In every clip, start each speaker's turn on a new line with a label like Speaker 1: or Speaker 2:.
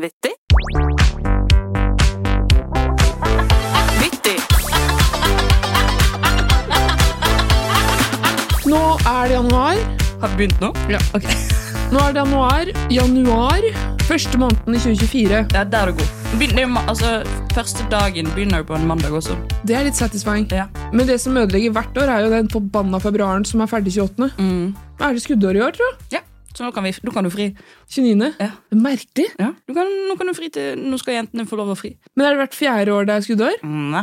Speaker 1: Vittig. Vittig.
Speaker 2: Nå er det januar.
Speaker 1: Har vi begynt nå?
Speaker 2: Ja, ok. Nå er det januar. Januar, første måneden i
Speaker 1: Ja,
Speaker 2: 2024.
Speaker 1: der er du god. Begyn- det er jo ma- altså, første dagen begynner jo på en mandag også.
Speaker 2: Det er litt satisfying.
Speaker 1: Ja.
Speaker 2: Men det som ødelegger hvert år, er jo den forbanna februaren som er ferdig 28.
Speaker 1: Mm.
Speaker 2: Er det skuddår i år, tror jeg?
Speaker 1: ja. Så nå kan, vi, nå kan du fri.
Speaker 2: 29.
Speaker 1: Ja.
Speaker 2: Merkelig.
Speaker 1: Ja. Du kan, nå kan du fri til Nå skal jentene få lov å fri.
Speaker 2: Men er det hvert fjerde år det er skuddår?
Speaker 1: Nei.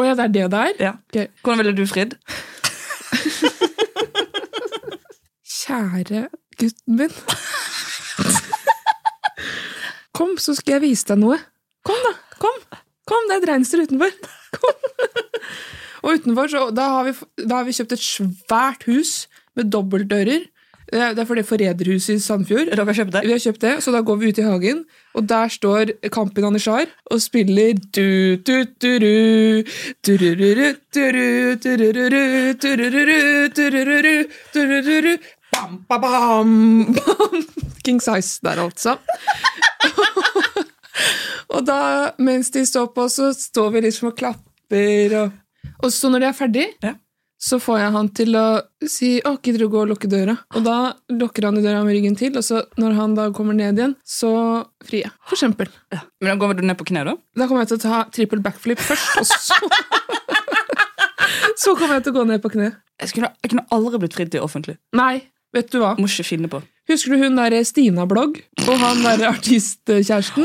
Speaker 2: Å ja, det er det det er?
Speaker 1: Ja.
Speaker 2: Ok.
Speaker 1: Hvordan ville du fridd?
Speaker 2: Kjære gutten min. Kom, så skal jeg vise deg noe. Kom, da. Kom, kom det er et reinsdyr utenfor. Kom. Og utenfor så, da har, vi, da har vi kjøpt et svært hus med dobbeltdører. Det er det er for det forræderhuset i Sandfjord.
Speaker 1: Dere har kjøpt det?
Speaker 2: Vi har kjøpt det, så da går vi ut i hagen, og der står Kampen Anishar og spiller du du du du turururu, tururu, turururu, turururu, turururu, turururu, bam, ba, bam, bam. King size der, altså. og da, mens de står på, så står vi liksom og klapper. Og, og så når de er ferdig,
Speaker 1: Ja.
Speaker 2: så får jeg han til å si å, gidder du gå og lukke døra? Og da lukker han i døra med ryggen til, og så når han da kommer ned igjen, så frir jeg. For eksempel.
Speaker 1: Ja. Men da går du ned på kne, da?
Speaker 2: Da kommer jeg til å ta trippel backflip først, og så Så kommer jeg til å gå ned på kne.
Speaker 1: Jeg, skulle, jeg kunne aldri blitt fridd til offentlig.
Speaker 2: Nei, vet du hva.
Speaker 1: Må ikke finne på.
Speaker 2: Husker du hun derre Stina-blogg, og han derre artistkjæresten?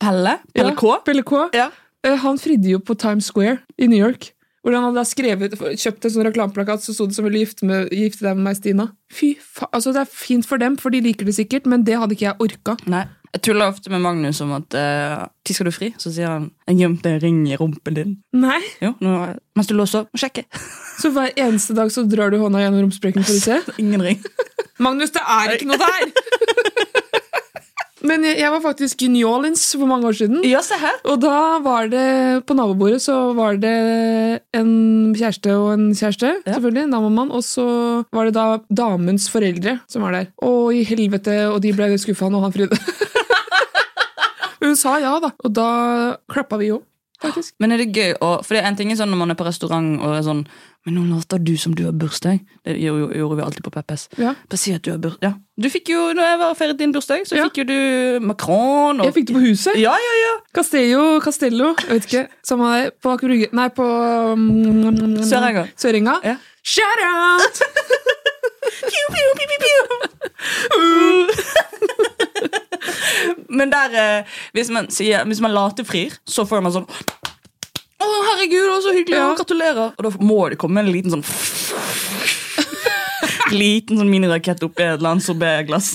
Speaker 1: Pelle? Pelle K?
Speaker 2: Ja, Pelle K.
Speaker 1: Ja.
Speaker 2: Eh, Han fridde jo på Times Square i New York. Hvor han hadde da skrevet, kjøpt en sånn reklameplakat så sto det som ville gifte, med, gifte deg med meg, Stina. Fy fa altså Det er fint for dem, for de liker det sikkert, men det hadde ikke jeg orka.
Speaker 1: Nei. Jeg tuller ofte med Magnus om at uh, 'Når skal du fri?' Så sier han 'Jeg gjemte en ring i rumpen din'.
Speaker 2: Nei.
Speaker 1: Jo, nå, mens du låser opp, må sjekke.
Speaker 2: Så hver eneste dag så drar du hånda gjennom romsprekken for å se.
Speaker 1: Ingen ring.
Speaker 2: Magnus, det er ikke noe der! men jeg, jeg var faktisk i New Orleans for mange år siden.
Speaker 1: Ja, se her.
Speaker 2: Og da var det På nabobordet så var det en kjæreste og en kjæreste,
Speaker 1: Ja.
Speaker 2: selvfølgelig. En dame og en mann. Og så var det da damens foreldre som var der. Å, i helvete! Og de ble skuffa når han fridde. Men Hun sa ja, da. Og da klappa vi jo, faktisk.
Speaker 1: Men er det gøy å For det er en ting er sånn når man er på restaurant og er sånn Men nå later du som du har bursdag. Det gjorde, jo- gjorde vi alltid på Peppes.
Speaker 2: Ja.
Speaker 1: Bare si at du har bursdag. Ja. Du fikk jo, når jeg var og feiret din bursdag, så
Speaker 2: Ja.
Speaker 1: fikk jo du makron og
Speaker 2: Jeg fikk det på huset.
Speaker 1: Ja, ja, ja.
Speaker 2: Castello, Castello, jeg vet ikke. Samme det. På Aker Brygge Nei, på mm,
Speaker 1: Sørenga.
Speaker 2: Sørenga.
Speaker 1: Ja.
Speaker 2: Shout out!
Speaker 1: Piu, piu, piu, piu, piu. Men der eh, hvis, man sier, hvis man later frir, så får man sånn Å, herregud, det var så hyggelig!
Speaker 2: Ja.
Speaker 1: og Gratulerer! Og da må det komme en liten sånn Liten sånn minirakett oppi et eller annet sorbetglass.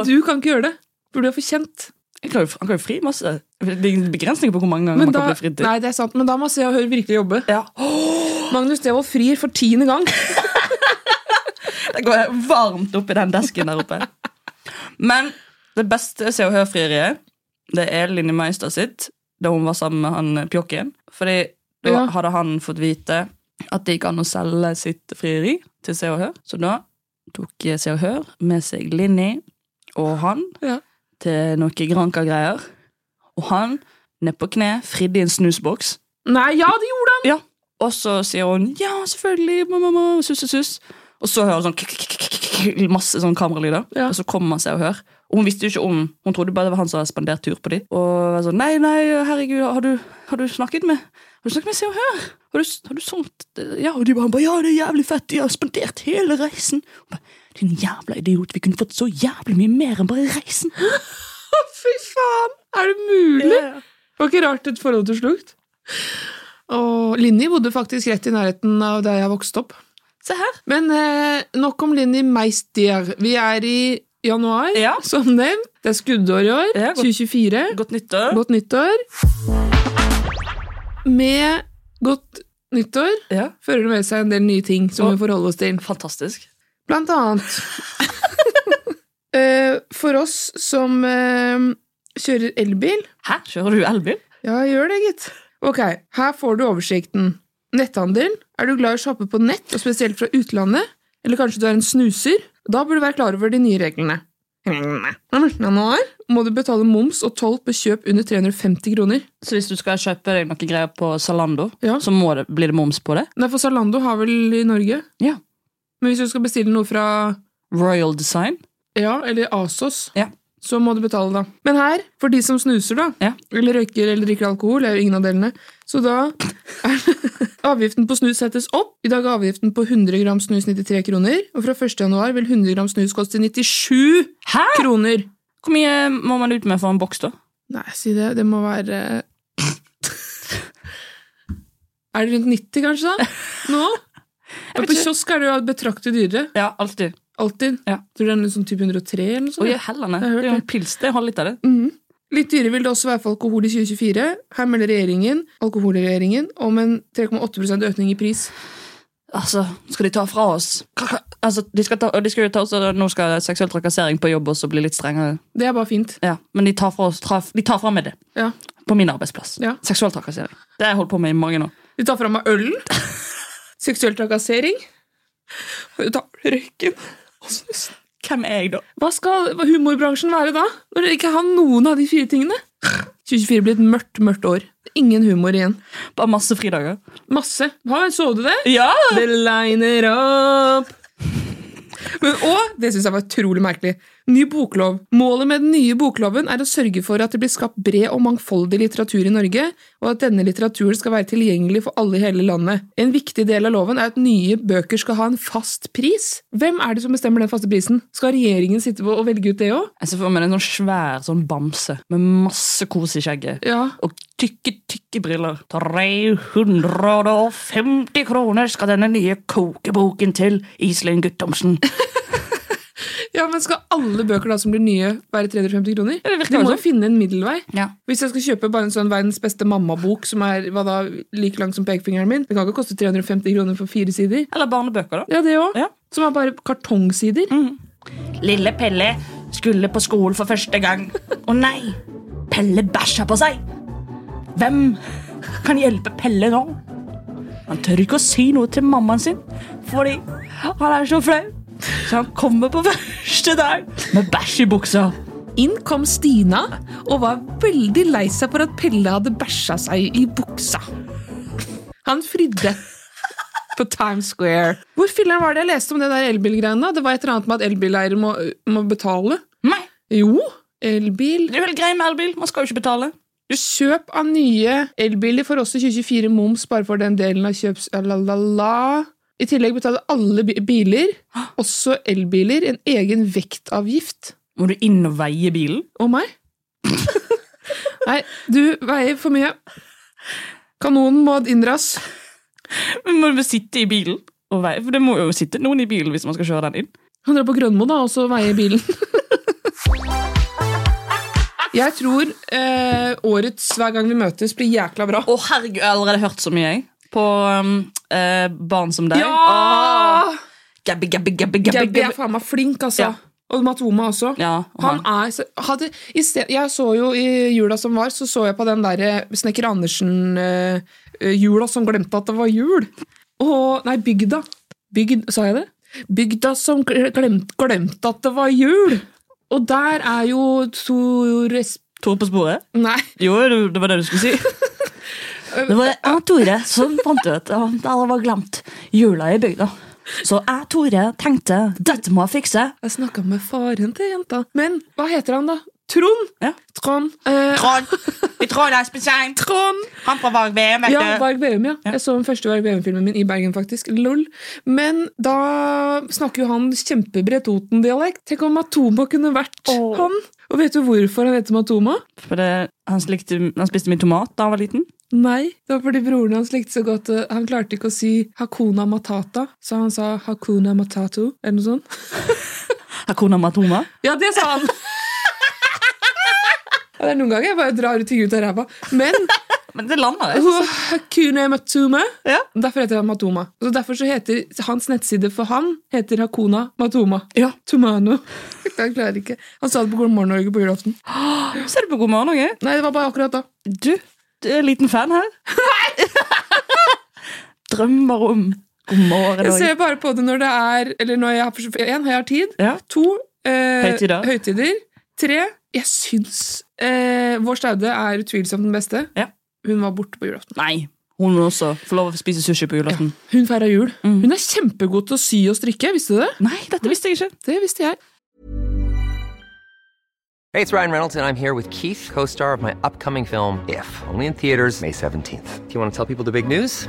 Speaker 1: På-
Speaker 2: du kan ikke gjøre det, for du er for kjent.
Speaker 1: Jeg klarer jo- Han kan jo fri masse. Det er ingen begrensninger på hvor mange ganger
Speaker 2: Men
Speaker 1: man
Speaker 2: da,
Speaker 1: kan bli fridd til.
Speaker 2: nei, det er sant, men da må Se og Hør virkelig jobbe.
Speaker 1: Ja.
Speaker 2: Magnus Devold frir for tiende gang.
Speaker 1: Det går varmt opp i den desken der oppe. Men det beste Se og Hør-frieriet, det er Linni Meister sitt, da hun var sammen med han pjokken. Fordi da
Speaker 2: Ja.
Speaker 1: hadde han fått vite at det gikk an å selge sitt frieri til Se og Hør. Så da tok Se og Hør med seg Linni og han
Speaker 2: Ja.
Speaker 1: til noe Granca-greier. Og han, ned på kne, fridde i en snusboks.
Speaker 2: Nei, ja, det gjorde han!
Speaker 1: Ja. Og så sier hun ja, selvfølgelig, mamma, mamma, sus, sus, sus. Og så hører hun sånn k- k- k- k- k- k- masse sånn kameralyder.
Speaker 2: Ja.
Speaker 1: Og så kommer man seg og hører. Og hun visste jo ikke om, hun trodde bare det var han som hadde spandert tur på dem. Og var sånn, nei, nei, herregud, har du, har du snakket med Har du snakket med Se og Hør? Har du, har du sånt? Ja, og de bare, han bare, ja, det er jævlig fett, de har spandert hele reisen. Hun bare, Din jævla idiot, vi kunne fått så jævlig mye mer enn bare reisen.
Speaker 2: Fy faen! Er det mulig? Det var ikke rart et forhold til slukt. Og Linni bodde faktisk rett i nærheten av der jeg vokste opp.
Speaker 1: Se her.
Speaker 2: Men eh, nok om Linni Meister. Vi er i januar,
Speaker 1: Ja.
Speaker 2: som nevnt. Det er skuddår i år.
Speaker 1: Ja, godt-
Speaker 2: 2024.
Speaker 1: Godt nyttår.
Speaker 2: Godt nyttår. Med godt nyttår
Speaker 1: Ja.
Speaker 2: fører det med seg en del nye ting som
Speaker 1: Og-
Speaker 2: vi forholder oss til.
Speaker 1: Fantastisk.
Speaker 2: Blant annet. Eh, For oss som eh, kjører elbil
Speaker 1: Hæ, kjører du elbil?
Speaker 2: Ja, gjør det, gitt. Ok, her får du oversikten. Netthandel. Er du glad i å shoppe på nett, og spesielt fra utlandet? Eller kanskje du er en snuser? Da bør du være klar over de nye reglene. Reglene. Fra 14. Januar må du betale moms og toll på kjøp under 350 kroner.
Speaker 1: Så hvis du skal kjøpe deg noen greier på Zalando,
Speaker 2: Ja.
Speaker 1: så må det, blir det moms på det?
Speaker 2: Nei, for Zalando har vel i Norge.
Speaker 1: Ja.
Speaker 2: Men hvis du skal bestille noe fra
Speaker 1: Royal Design?
Speaker 2: Ja, eller ASOS,
Speaker 1: Ja.
Speaker 2: så må du betale, da. Men her, for de som snuser, da,
Speaker 1: Ja.
Speaker 2: eller røyker eller drikker alkohol, eller ingen av delene, så da er avgiften på snus settes opp. I dag er avgiften på 100 gram snus 93 kroner, og fra 1. januar vil 100 gram snus koste 97
Speaker 1: Hæ?!
Speaker 2: kroner!
Speaker 1: Hvor mye må man ut med for en boks, da?
Speaker 2: Nei, si det. Det må være Er det rundt 90, kanskje, da? Nå?
Speaker 1: Jeg
Speaker 2: Ja,
Speaker 1: vet
Speaker 2: på
Speaker 1: ikke.
Speaker 2: kiosk er det jo betraktelig dyrere.
Speaker 1: Ja, alltid.
Speaker 2: Alltid.
Speaker 1: Ja.
Speaker 2: Tror du det er noe sånn type 103 eller noe
Speaker 1: Å,
Speaker 2: sånt?
Speaker 1: ja, hellene.
Speaker 2: Jeg har hørt
Speaker 1: Det er jo
Speaker 2: det.
Speaker 1: en pils. Det er en halv liter, det.
Speaker 2: Mhm. Litt dyrere vil det også være for alkohol i 2024. Her melder regjeringen, alkoholregjeringen om en 3,8 økning i pris.
Speaker 1: Altså, skal de ta fra oss? Hva- hva- Altså, de skal ta, og de skal jo ta oss, og nå skal seksuell trakassering på jobb også bli litt strengere.
Speaker 2: Det er bare fint.
Speaker 1: Ja, men de tar fra, oss, tra, de tar fra meg det.
Speaker 2: Ja.
Speaker 1: På min arbeidsplass.
Speaker 2: Ja.
Speaker 1: Seksuell trakassering. Det har jeg holdt på med i mange år.
Speaker 2: De tar fra meg ølen, seksuell trakassering, og de tar røyken. og snusen.
Speaker 1: Hvem er jeg, da?
Speaker 2: Hva skal humorbransjen være da, når dere ikke har noen av de fire tingene? 2024 blir et mørkt, mørkt år. Ingen humor igjen.
Speaker 1: Bare masse fridager.
Speaker 2: Masse. Ha, så du det?
Speaker 1: Ja!
Speaker 2: Det liner opp. Men og, det synes jeg var utrolig merkelig, ny boklov. Målet med den nye bokloven er å sørge for at det blir skapt bred og mangfoldig litteratur i Norge, og at denne litteraturen skal være tilgjengelig for alle i hele landet. En viktig del av loven er at nye bøker skal ha en fast pris. Hvem er det som bestemmer den faste prisen? Skal regjeringen sitte på og velge ut det òg?
Speaker 1: Jeg ser for meg en sånn svær sånn bamse med masse kos i skjegget.
Speaker 2: Ja.
Speaker 1: Og tykke, tykke briller. 350 kroner skal denne nye kokeboken til Iselin Guttormsen.
Speaker 2: ja, men skal alle bøker da som blir nye, være 350 kroner?
Speaker 1: Ja, det virker
Speaker 2: De
Speaker 1: jo
Speaker 2: må
Speaker 1: sånn.
Speaker 2: jo finne en middelvei.
Speaker 1: Ja.
Speaker 2: Hvis jeg skal kjøpe bare en sånn verdens beste mammabok som er hva da, like lang som pekefingeren min, det kan ikke koste 350 kroner for fire sider.
Speaker 1: Eller barnebøker, da.
Speaker 2: Ja, det òg.
Speaker 1: Ja. Mm.
Speaker 2: Som er bare kartongsider.
Speaker 1: Lille Pelle skulle på skolen for første gang. Å nei! Pelle bæsja på seg! Hvem kan hjelpe Pelle nå? Han tør ikke å si noe til mammaen sin, fordi han er så flau. Så han kommer på første dag med bæsj i buksa.
Speaker 2: Inn kom Stina og var veldig lei seg for at Pelle hadde bæsja seg i buksa. Han frydde på Times Square. Hvor filleren var det jeg leste om det der elbilgreiene? da? Det var et eller annet med at elbileiere må, må betale.
Speaker 1: Nei,
Speaker 2: Jo, elbil
Speaker 1: det er jo helt greit med elbil. Man skal jo ikke betale.
Speaker 2: Kjøp av nye elbiler får også 2024 moms bare for den delen av kjøps... Lalala. I tillegg betaler alle bi- biler, også elbiler, en egen vektavgift.
Speaker 1: Må du inn og veie bilen?
Speaker 2: Og meg? Nei, du veier for mye. Kanonen må inndras.
Speaker 1: Men Må du vel sitte i bilen og veie? For det må jo sitte noen i bilen hvis man skal kjøre den inn.
Speaker 2: Han drar på Grønmo da, og så veier bilen. Jeg tror eh, årets Hver gang vi møtes blir jækla bra.
Speaker 1: Å, herregud, jeg har allerede hørt så mye, jeg. På um, eh, Barn som deg. Åh,
Speaker 2: Ja!
Speaker 1: Gabby, Gabby, Gabby, Gabby,
Speaker 2: Gabby er
Speaker 1: Gabby.
Speaker 2: faen meg flink, altså.
Speaker 1: Ja.
Speaker 2: Og Matoma også.
Speaker 1: Ja, og
Speaker 2: Han
Speaker 1: han.
Speaker 2: er, så- hadde, i sted, jeg så jo i jula som var, så så jeg på den der eh, Snekker Andersen-jula som glemte at det var jul. Og, nei, bygda. Bygd, sa jeg det? Bygda som gl- glemt, glemte at det var jul! Og der er jo Tor Esp...
Speaker 1: Tore på sporet?
Speaker 2: Nei.
Speaker 1: Jo, du- det var det du skulle si. Det var jeg, Tore, som fant ut at alle var glemt jula i bygda. Så jeg, Tore, tenkte dette må jeg fikse.
Speaker 2: Jeg snakka med faren til jenta. Men hva heter han, da? Trond?
Speaker 1: Ja.
Speaker 2: Trond. Eh,
Speaker 1: Trond. Vi Trond Espensheim.
Speaker 2: Trond!
Speaker 1: Han fra Varg VM,
Speaker 2: Ja, Varg Veum, ja. Jeg så den første Varg Veum-filmen min i Bergen, faktisk. Lol. Men da snakker jo han kjempebred Toten-dialekt. Tenk om Matoma kunne vært
Speaker 1: Åh.
Speaker 2: han! Og vet du hvorfor han heter Matoma?
Speaker 1: Fordi han, slikte, han spiste min tomat da han var liten.
Speaker 2: Nei, det var fordi broren hans likte så godt eh, Han klarte ikke å si Hakuna Matata, så han sa Hakuna Matato, eller noe sånt.
Speaker 1: Hakuna Matoma.
Speaker 2: Ja, det sa han! Ja, det er noen ganger jeg bare drar ut ting ut av ræva. Men
Speaker 1: Men det lander jeg.
Speaker 2: Åh, Hakuna Matuma
Speaker 1: Ja.
Speaker 2: Derfor heter han Matoma. Så derfor så heter hans nettside for han heter Hakuna Matoma.
Speaker 1: Ja.
Speaker 2: Tomano. Jeg klarer ikke. Han sa det på God morgen Norge på julaften.
Speaker 1: Ser du på God morgen Norge?
Speaker 2: Nei, det var bare akkurat da.
Speaker 1: Du, du er en liten fan her. Drømmer om God morgen,
Speaker 2: Jeg
Speaker 1: Norge.
Speaker 2: ser bare på det når det er Eller når jeg har, for en, har jeg har tid.
Speaker 1: Ja.
Speaker 2: To eh,
Speaker 1: Høytider.
Speaker 2: høytider. Tre jeg syns eh, Vår Staude er utvilsomt den beste.
Speaker 1: Ja.
Speaker 2: Hun var borte på julaften.
Speaker 1: Nei, hun må også få lov å spise sushi på julaften.
Speaker 2: Hun feira jul.
Speaker 1: Mm.
Speaker 2: Hun er kjempegod til å sy og strikke. Visste du det?
Speaker 1: Nei, dette visste jeg ikke.
Speaker 2: Det visste jeg.
Speaker 3: Hey, it's Ryan Reynolds, and I'm here with Keith, co star of my upcoming film, If, only in theaters, May 17th. Do you want to tell people the big news?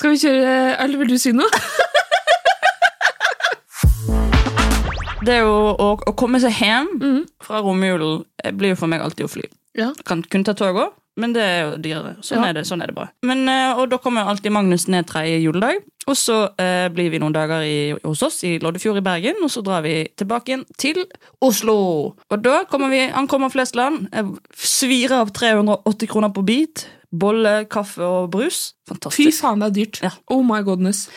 Speaker 2: Skal vi kjøre Eller vil du si noe?
Speaker 1: Det er jo å, å komme seg hjem fra romjulen eh, blir jo for meg alltid å fly.
Speaker 2: Mhm. Ja.
Speaker 1: Jeg Kan kun ta tog òg, men det er jo dyrere. Sånn,
Speaker 2: Ja.
Speaker 1: er det, sånn er det bare. Men, eh, og da kommer jo alltid Magnus ned tredje juledag. Og så eh, blir vi noen dager i, hos oss i Loddefjord i Bergen, og så drar vi tilbake igjen til Oslo. Og da kommer vi, ankommer Flesland. Jeg svir av 380 kroner på bit. Bolle, kaffe og brus.
Speaker 2: Fy
Speaker 1: Fantastisk.
Speaker 2: faen, det er dyrt.
Speaker 1: Ja.
Speaker 2: Oh my godness.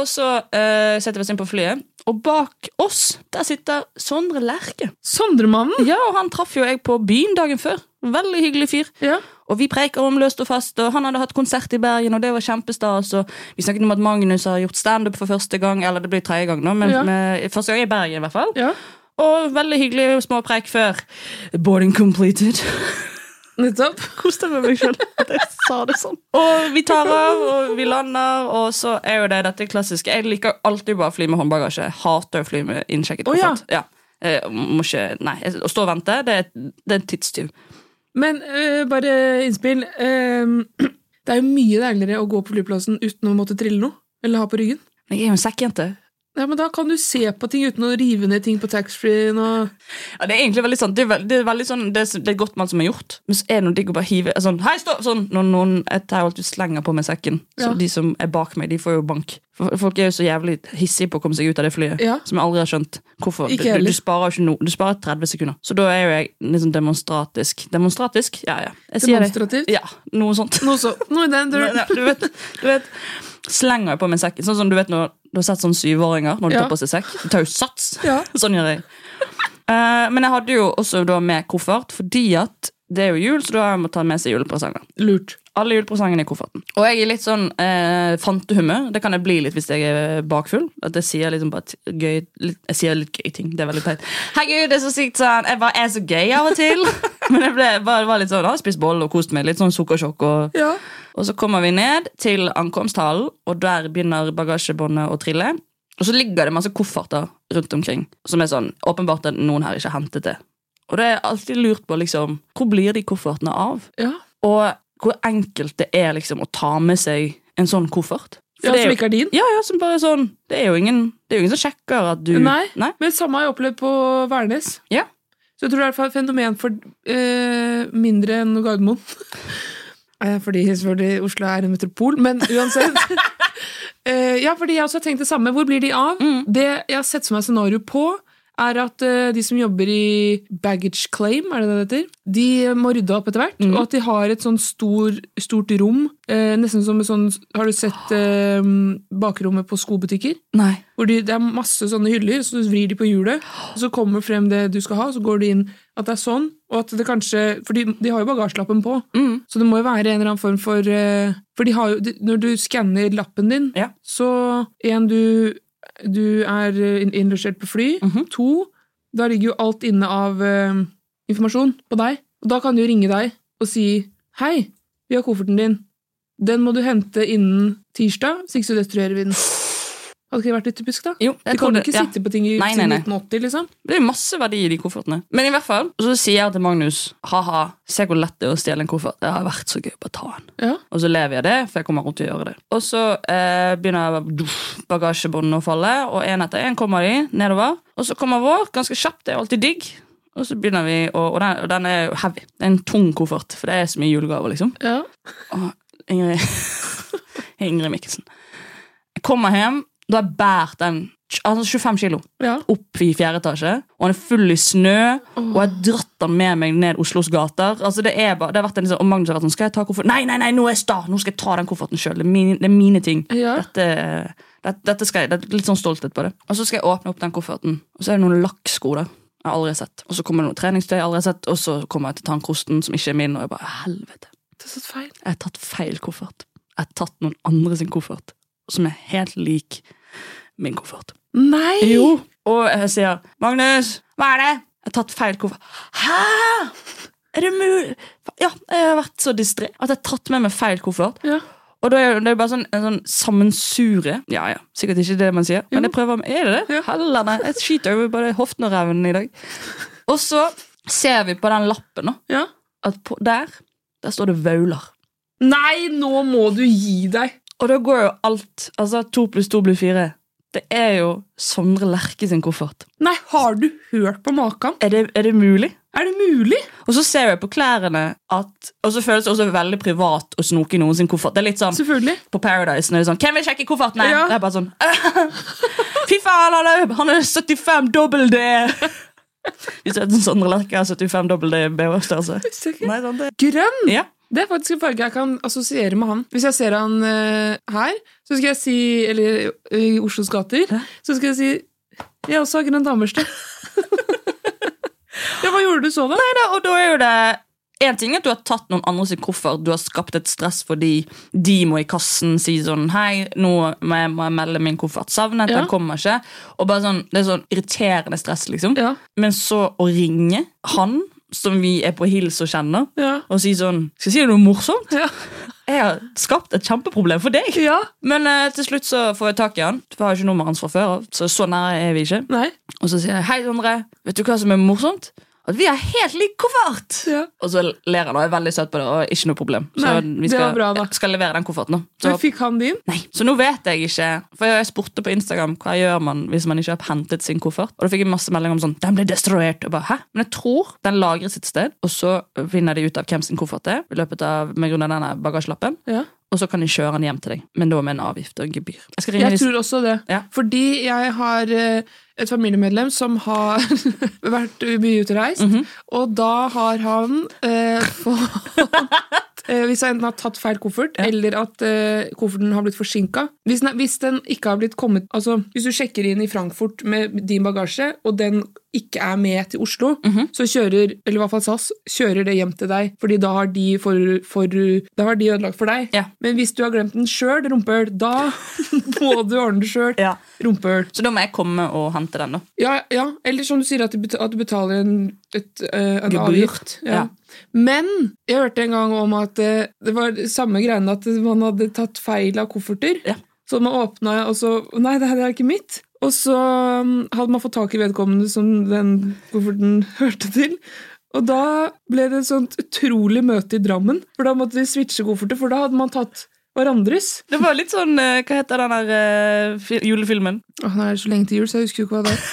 Speaker 1: Og så eh, setter vi oss inn på flyet, og bak oss der sitter Sondre Lerche.
Speaker 2: Sondremannen.
Speaker 1: Ja, og han traff jo jeg på byen dagen før. Veldig hyggelig fyr.
Speaker 2: Ja.
Speaker 1: Og vi preiker om løst og fast, og han hadde hatt konsert i Bergen, og det var kjempestas. Og vi snakket om at Magnus har gjort standup for første gang, eller det blir tredje gang nå, men
Speaker 2: Ja.
Speaker 1: men- første gang i Bergen i hvert fall.
Speaker 2: ja.
Speaker 1: Og veldig hyggelig små preik før. Boarding completed.
Speaker 2: Nettopp.
Speaker 1: Koste meg meg sjøl at jeg sa det sånn. Og vi tar av, og vi lander, og så er jo det dette klassiske. Jeg liker alltid bare å fly med håndbagasje. Jeg hater å fly med innsjekket
Speaker 2: Å, ja.
Speaker 1: koffert. ja. Eh, Må ikke, nei, Å stå og vente, det er, det er en tidstyv.
Speaker 2: Men øh, bare innspill. Ehm, det er jo mye deiligere å gå på flyplassen uten å måtte trille noe. Eller ha på ryggen.
Speaker 1: Men jeg er jo en sekkjente.
Speaker 2: Ja, men Da kan du se på ting uten å rive ned ting på taxfree-en. og-
Speaker 1: Ja, det er egentlig veldig sånn, det er, veld, det er veldig sånn, det er, det er godt man som har gjort. Men så er det noe digg å bare hive sånn, hei, stopp, sånn, når noen jeg tar jo alltid slenger på meg sekken. Så
Speaker 2: Ja.
Speaker 1: de som er bak meg, de får jo bank. For- Folk er jo så jævlig hissige på å komme seg ut av det flyet,
Speaker 2: Ja.
Speaker 1: som jeg aldri har skjønt. Hvorfor?
Speaker 2: Ikke
Speaker 1: Du- du,
Speaker 2: heller.
Speaker 1: du sparer jo ikke noe, du sparer 30 sekunder. Så da er jo jeg liksom demonstratisk. Demonstratisk? Ja, ja. Jeg sier det.
Speaker 2: Demonstrativt.
Speaker 1: Ja, noe sånt.
Speaker 2: Noe så, noe i den
Speaker 1: Men, ja,
Speaker 2: duren.
Speaker 1: du, vet, du vet, slenger jeg på meg sekken. Sånn som du vet når du har sett sånn syvåringer når de
Speaker 2: Ja.
Speaker 1: tar på seg sekk. De tar jo sats.
Speaker 2: Ja.
Speaker 1: Sånn gjør jeg. Eh, men jeg hadde jo også da med koffert, fordi at det er jo jul, så da har jeg måttet ta med seg julepresanger.
Speaker 2: Lurt.
Speaker 1: Alle julepresangene i kofferten. Og jeg er litt sånn eh, fantehumør. Det kan jeg bli litt hvis jeg er bakfull. At jeg sier liksom bare t- gøy litt, Jeg sier litt gøy ting. Det er veldig teit. Herregud, det er så sykt sånn. Jeg bare er så gøy av og til. Men jeg ble, bare, var litt sånn, har spist bolle og kost meg. Litt sånn sukkersjokk og
Speaker 2: Ja.
Speaker 1: og så kommer vi ned til ankomsthallen, og der begynner bagasjebåndet å trille. Og så ligger det masse kofferter rundt omkring, som er sånn, åpenbart at noen her ikke har hentet det. Og det er alltid lurt på, liksom, hvor blir de koffertene av?
Speaker 2: ja.
Speaker 1: Og hvor enkelt det er, liksom, å ta med seg en sånn koffert. For
Speaker 2: ja
Speaker 1: det er
Speaker 2: som
Speaker 1: jo-
Speaker 2: ikke er din.
Speaker 1: Ja, ja, som bare er sånn, det er jo ingen, det er jo ingen som sjekker at du...
Speaker 2: Nei.
Speaker 1: Nei?
Speaker 2: Men samme har jeg opplevd på Værnes.
Speaker 1: Ja.
Speaker 2: Så jeg tror det er et fenomen for eh, mindre enn Gardermoen. Eh, fordi selvfølgelig Oslo er en metropol, men uansett. Eh, ja, fordi jeg også har tenkt det samme. Hvor blir de av? Det jeg har sett som et scenario på, er at eh, de som jobber i baggage claim, er det det det heter, de må rydde opp etter hvert. Og at de har et sånn stor, stort rom, eh, nesten som et sånn Har du sett eh, bakrommet på skobutikker?
Speaker 1: Nei.
Speaker 2: Hvor de, det er masse sånne hyller, så du vrir de på hjulet, og så kommer frem det du skal ha, og så går du inn at det er sånn, og at det kanskje For de, de har jo bagasjelappen på, så det må jo være en eller annen form for eh, For de har jo, de, når du skanner lappen din,
Speaker 1: Ja.
Speaker 2: så en du, du er eh, inn- innlosjert på fly,
Speaker 1: Mhm.
Speaker 2: to Da ligger jo alt inne av eh, informasjon på deg, og da kan de jo ringe deg og si Hei, vi har kofferten din. Den må du hente innen tirsdag, hvis ikke så destruerer vi den. Hadde ikke det vært litt typisk, da?
Speaker 1: Jo, jeg
Speaker 2: du kan
Speaker 1: tror
Speaker 2: jo
Speaker 1: det-
Speaker 2: ikke
Speaker 1: ja.
Speaker 2: sitte på ting i,
Speaker 1: Nei, nei,
Speaker 2: siden
Speaker 1: nei.
Speaker 2: 1980, liksom.
Speaker 1: Det er jo masse verdi i de koffertene. Men i hvert fall, så sier jeg til Magnus ha-ha, se hvor lett det er å stjele en koffert. Det har vært så gøy. Bare ta den.
Speaker 2: Ja.
Speaker 1: Og så lever jeg det, for jeg kommer rundt til å gjøre det. Og så eh, begynner duff, bagasjebåndene å falle, og én etter én kommer de nedover. Og så kommer vår ganske kjapt, det er alltid digg. Og så begynner vi, og, og, den, og den er jo heavy. Det er en tung koffert, for det er så mye julegaver, liksom.
Speaker 2: ja.
Speaker 1: Og Ingrid, Ingrid Mikkelsen. Jeg kommer hjem, da har jeg båret den altså 25 kilo
Speaker 2: ja.
Speaker 1: opp i fjerde etasje, og han er full i snø, og jeg har dratt han med meg ned Oslos gater. Altså det er bare, det har vært en sånn, Og Magnus har vært sånn Skal jeg ta kofferten? Nei, nei, nei, nå er jeg sta! Nå skal jeg ta den kofferten sjøl. Det, er mine- det er mine ting.
Speaker 2: Ja.
Speaker 1: Dette, det, dette skal jeg, det er Litt sånn stolthet på det. Og så skal jeg åpne opp den kofferten, og så er det noen lakksko der. Jeg har aldri sett. Og så kommer det noe treningstøy, jeg har aldri sett, og så kommer jeg til tannkrosten, som ikke er min, og jeg bare Helvete.
Speaker 2: Det er så feil.
Speaker 1: Jeg har tatt feil koffert. Jeg har tatt noen andre sin koffert, som er helt lik min koffert.
Speaker 2: Nei!
Speaker 1: Jo. Og jeg sier 'Magnus, hva er det?' Jeg har tatt feil koffert. Hæ?! Er det mulig? Ja, jeg har vært så distré at jeg har tatt med meg feil koffert.
Speaker 2: Ja.
Speaker 1: Og da er det er jo bare sånn, en sånn sammensure. Ja, ja, sikkert ikke det man sier, men jeg prøver med, er det det? Heller nei, jeg skiter over både hoften og revnen i dag. Og så ser vi på den lappen nå,
Speaker 2: Ja.
Speaker 1: at på, der, der står det Vaular.
Speaker 2: Nei, nå må du gi deg!
Speaker 1: Og da går jo alt, altså to pluss to blir fire. Det er jo Sondre Lerke sin koffert.
Speaker 2: Nei, har du hørt på maken?
Speaker 1: Er det, er det mulig?
Speaker 2: Er det mulig?
Speaker 1: Og så ser jeg på klærne at Og så føles det også veldig privat å snoke i noen sin koffert. Det er litt sånn
Speaker 2: Selvfølgelig.
Speaker 1: på Paradise når det er sånn 'Hvem vil sjekke kofferten?' Nei.
Speaker 2: Ja.
Speaker 1: Det er bare sånn Fy faen, han er, han er 75 dobbel D! Hvis du heter Sondre Lerche, er 75 dobbel D BH-størrelse.
Speaker 2: Sikkert.
Speaker 1: Nei, sant det?
Speaker 2: Grønn!
Speaker 1: Ja.
Speaker 2: Det er faktisk en farge jeg kan assosiere med han. Hvis jeg ser han eh, her, så skal jeg si Eller eh, i Oslos gater, så skal jeg si Jeg også har grønn damerste. ja, hva gjorde du så, da?
Speaker 1: Nei da, og da er jo det en ting er at du har tatt noen andre sin koffert, du har skapt et stress fordi de må i kassen si sånn Hei, nå må jeg, må jeg melde min koffert savnet,
Speaker 2: Ja.
Speaker 1: den kommer ikke. Og bare sånn, Det er sånn irriterende stress, liksom.
Speaker 2: Ja.
Speaker 1: Men så å ringe han, som vi er på hils og kjenner,
Speaker 2: Ja.
Speaker 1: og si sånn Skal jeg si deg noe morsomt?
Speaker 2: Ja.
Speaker 1: Jeg har skapt et kjempeproblem for deg.
Speaker 2: ja.
Speaker 1: Men eh, til slutt så får jeg tak i han. For jeg har jo ikke nummeret hans fra før av, så så nære er vi ikke.
Speaker 2: Nei.
Speaker 1: Og så sier jeg hei, Sondre. Vet du hva som er morsomt? At vi har helt lik koffert!
Speaker 2: Ja.
Speaker 1: Og så ler han og er veldig søt på det. og ikke noe problem. Så
Speaker 2: Nei,
Speaker 1: vi
Speaker 2: det
Speaker 1: skal,
Speaker 2: var bra da.
Speaker 1: skal levere den kofferten. nå.
Speaker 2: Men
Speaker 1: Så,
Speaker 2: fikk han din?
Speaker 1: nei. så nå vet jeg ikke. For jeg spurte på Instagram hva gjør man hvis man ikke har hentet sin koffert. Og da fikk jeg masse meldinger om sånn, den ble destruert. Og bare, hæ? Men jeg tror den lagres et sted, og så finner de ut av hvem sin koffert det er. i løpet av, med grunn av denne bagasjelappen.
Speaker 2: Ja.
Speaker 1: Og så kan de kjøre den hjem til deg. Men da med en avgift og en gebyr. Jeg skal ringe
Speaker 2: Jeg
Speaker 1: de-
Speaker 2: tror også det.
Speaker 1: Ja.
Speaker 2: Fordi jeg har eh, et familiemedlem som har vært mye ute og reist,
Speaker 1: Mhm.
Speaker 2: og da har han eh, fått eh, Hvis han enten har tatt feil koffert, eller at eh, kofferten har blitt forsinka hvis, den- hvis den ikke har blitt kommet Altså, hvis du sjekker inn i Frankfurt med din bagasje, og den ikke er med til Oslo,
Speaker 1: Mhm.
Speaker 2: så kjører, eller i hvert fall SAS, kjører det hjem til deg, fordi da har de, for, for, da har de ødelagt for deg.
Speaker 1: Ja.
Speaker 2: Men hvis du har glemt den sjøl, rumpehøl, da må du ordne det sjøl.
Speaker 1: Ja.
Speaker 2: Rumpehøl.
Speaker 1: Så da må jeg komme og hente den, da.
Speaker 2: Ja, ja. Eller som du sier, at du bet- at du betaler en, et, eh, en
Speaker 1: Gebyr.
Speaker 2: avgift. Ja.
Speaker 1: Ja.
Speaker 2: Men jeg hørte en gang om at eh, det var samme greiene at man hadde tatt feil av kofferter.
Speaker 1: Ja.
Speaker 2: Så man åpna, og så Nei, det her er ikke mitt. Og så mm, hadde man fått tak i vedkommende som den kofferten hørte til. Og da ble det et sånt utrolig møte i Drammen. For da måtte de switche kofferter, for da hadde man tatt hverandres.
Speaker 1: Det var litt sånn eh, Hva heter den der eh, fi- julefilmen?
Speaker 2: Åh, nå er det så lenge til jul, så jeg husker jo ikke hva det er.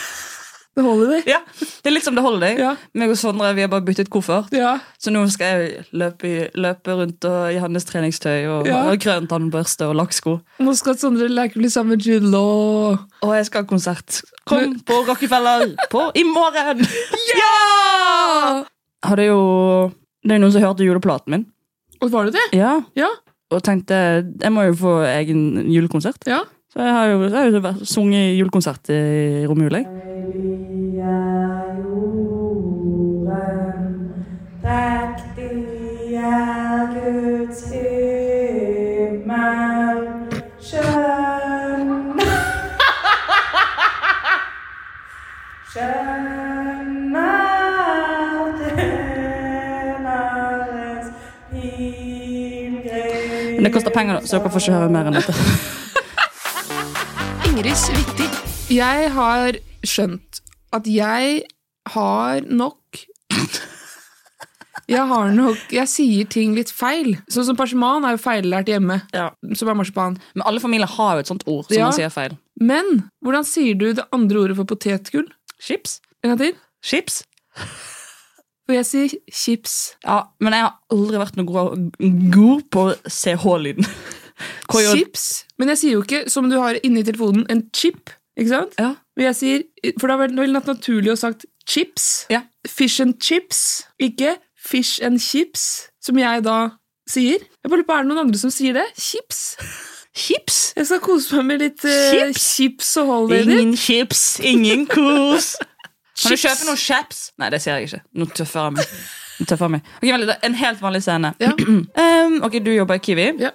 Speaker 2: The Holiday.
Speaker 1: Ja, Det er litt som The Holiday.
Speaker 2: Ja.
Speaker 1: Meg og Sondre vi har bare byttet koffert.
Speaker 2: Ja.
Speaker 1: Så nå skal jeg løpe, i- løpe rundt og, i hans treningstøy og,
Speaker 2: Ja.
Speaker 1: og grønn tannbørste og lakksko.
Speaker 2: Nå skal Sondre Lerche bli sammen med Jude Law.
Speaker 1: Og jeg skal ha konsert. Kom på Rockefeller på i morgen!
Speaker 2: Ja!
Speaker 1: Hadde jo Det er jo noen som hørte juleplaten min.
Speaker 2: Og var det det?
Speaker 1: Ja,
Speaker 2: Ja.
Speaker 1: Og tenkte jeg må jo få egen julekonsert.
Speaker 2: ja.
Speaker 1: Så jeg har jo, jeg har jo vært- sunget julekonsert i romjula. jeg.
Speaker 4: Drektig er Guds himmel, skjønne Skjønne tjenerens pilegrim
Speaker 1: Men det koster penger, da, så dere får ikke høre mer enn dette.
Speaker 5: Iris viktig?
Speaker 2: Jeg har skjønt at jeg har nok Jeg har nok Jeg sier ting litt feil. Sånn som parsiman er jo feillært hjemme.
Speaker 1: Ja.
Speaker 2: Som er marsipan.
Speaker 1: Men alle familier har jo et sånt ord som
Speaker 2: Ja.
Speaker 1: man sier feil.
Speaker 2: Men hvordan sier du det andre ordet for potetgull?
Speaker 1: Chips?
Speaker 2: En gang til.
Speaker 1: Chips?
Speaker 2: For jeg sier chips.
Speaker 1: Ja, men jeg har aldri vært noe god, god på CH-lyden. Hva gjør-
Speaker 2: Chips. Men jeg sier jo ikke, som du har inni telefonen, en chip. Ikke sant?
Speaker 1: Ja.
Speaker 2: Men jeg sier, For da ville det vært naturlig å sagt chips.
Speaker 1: Ja.
Speaker 2: Fish and chips, ikke fish and chips, som jeg da sier. Jeg bare lurer på, Er det noen andre som sier det? Chips?
Speaker 1: Chips?
Speaker 2: Jeg skal kose meg med litt eh,
Speaker 1: Chips?
Speaker 2: chips og holiday.
Speaker 1: Ingen chips, ingen kos. Kan du
Speaker 2: Chips.
Speaker 1: kjøpe noen chips? Nei, det ser jeg ikke. Nå tøffer jeg meg. Nå tøffer jeg meg. Ok, vent litt, En helt vanlig scene.
Speaker 2: Ja.
Speaker 1: Ehm, ok, Du jobber i Kiwi,
Speaker 2: Ja.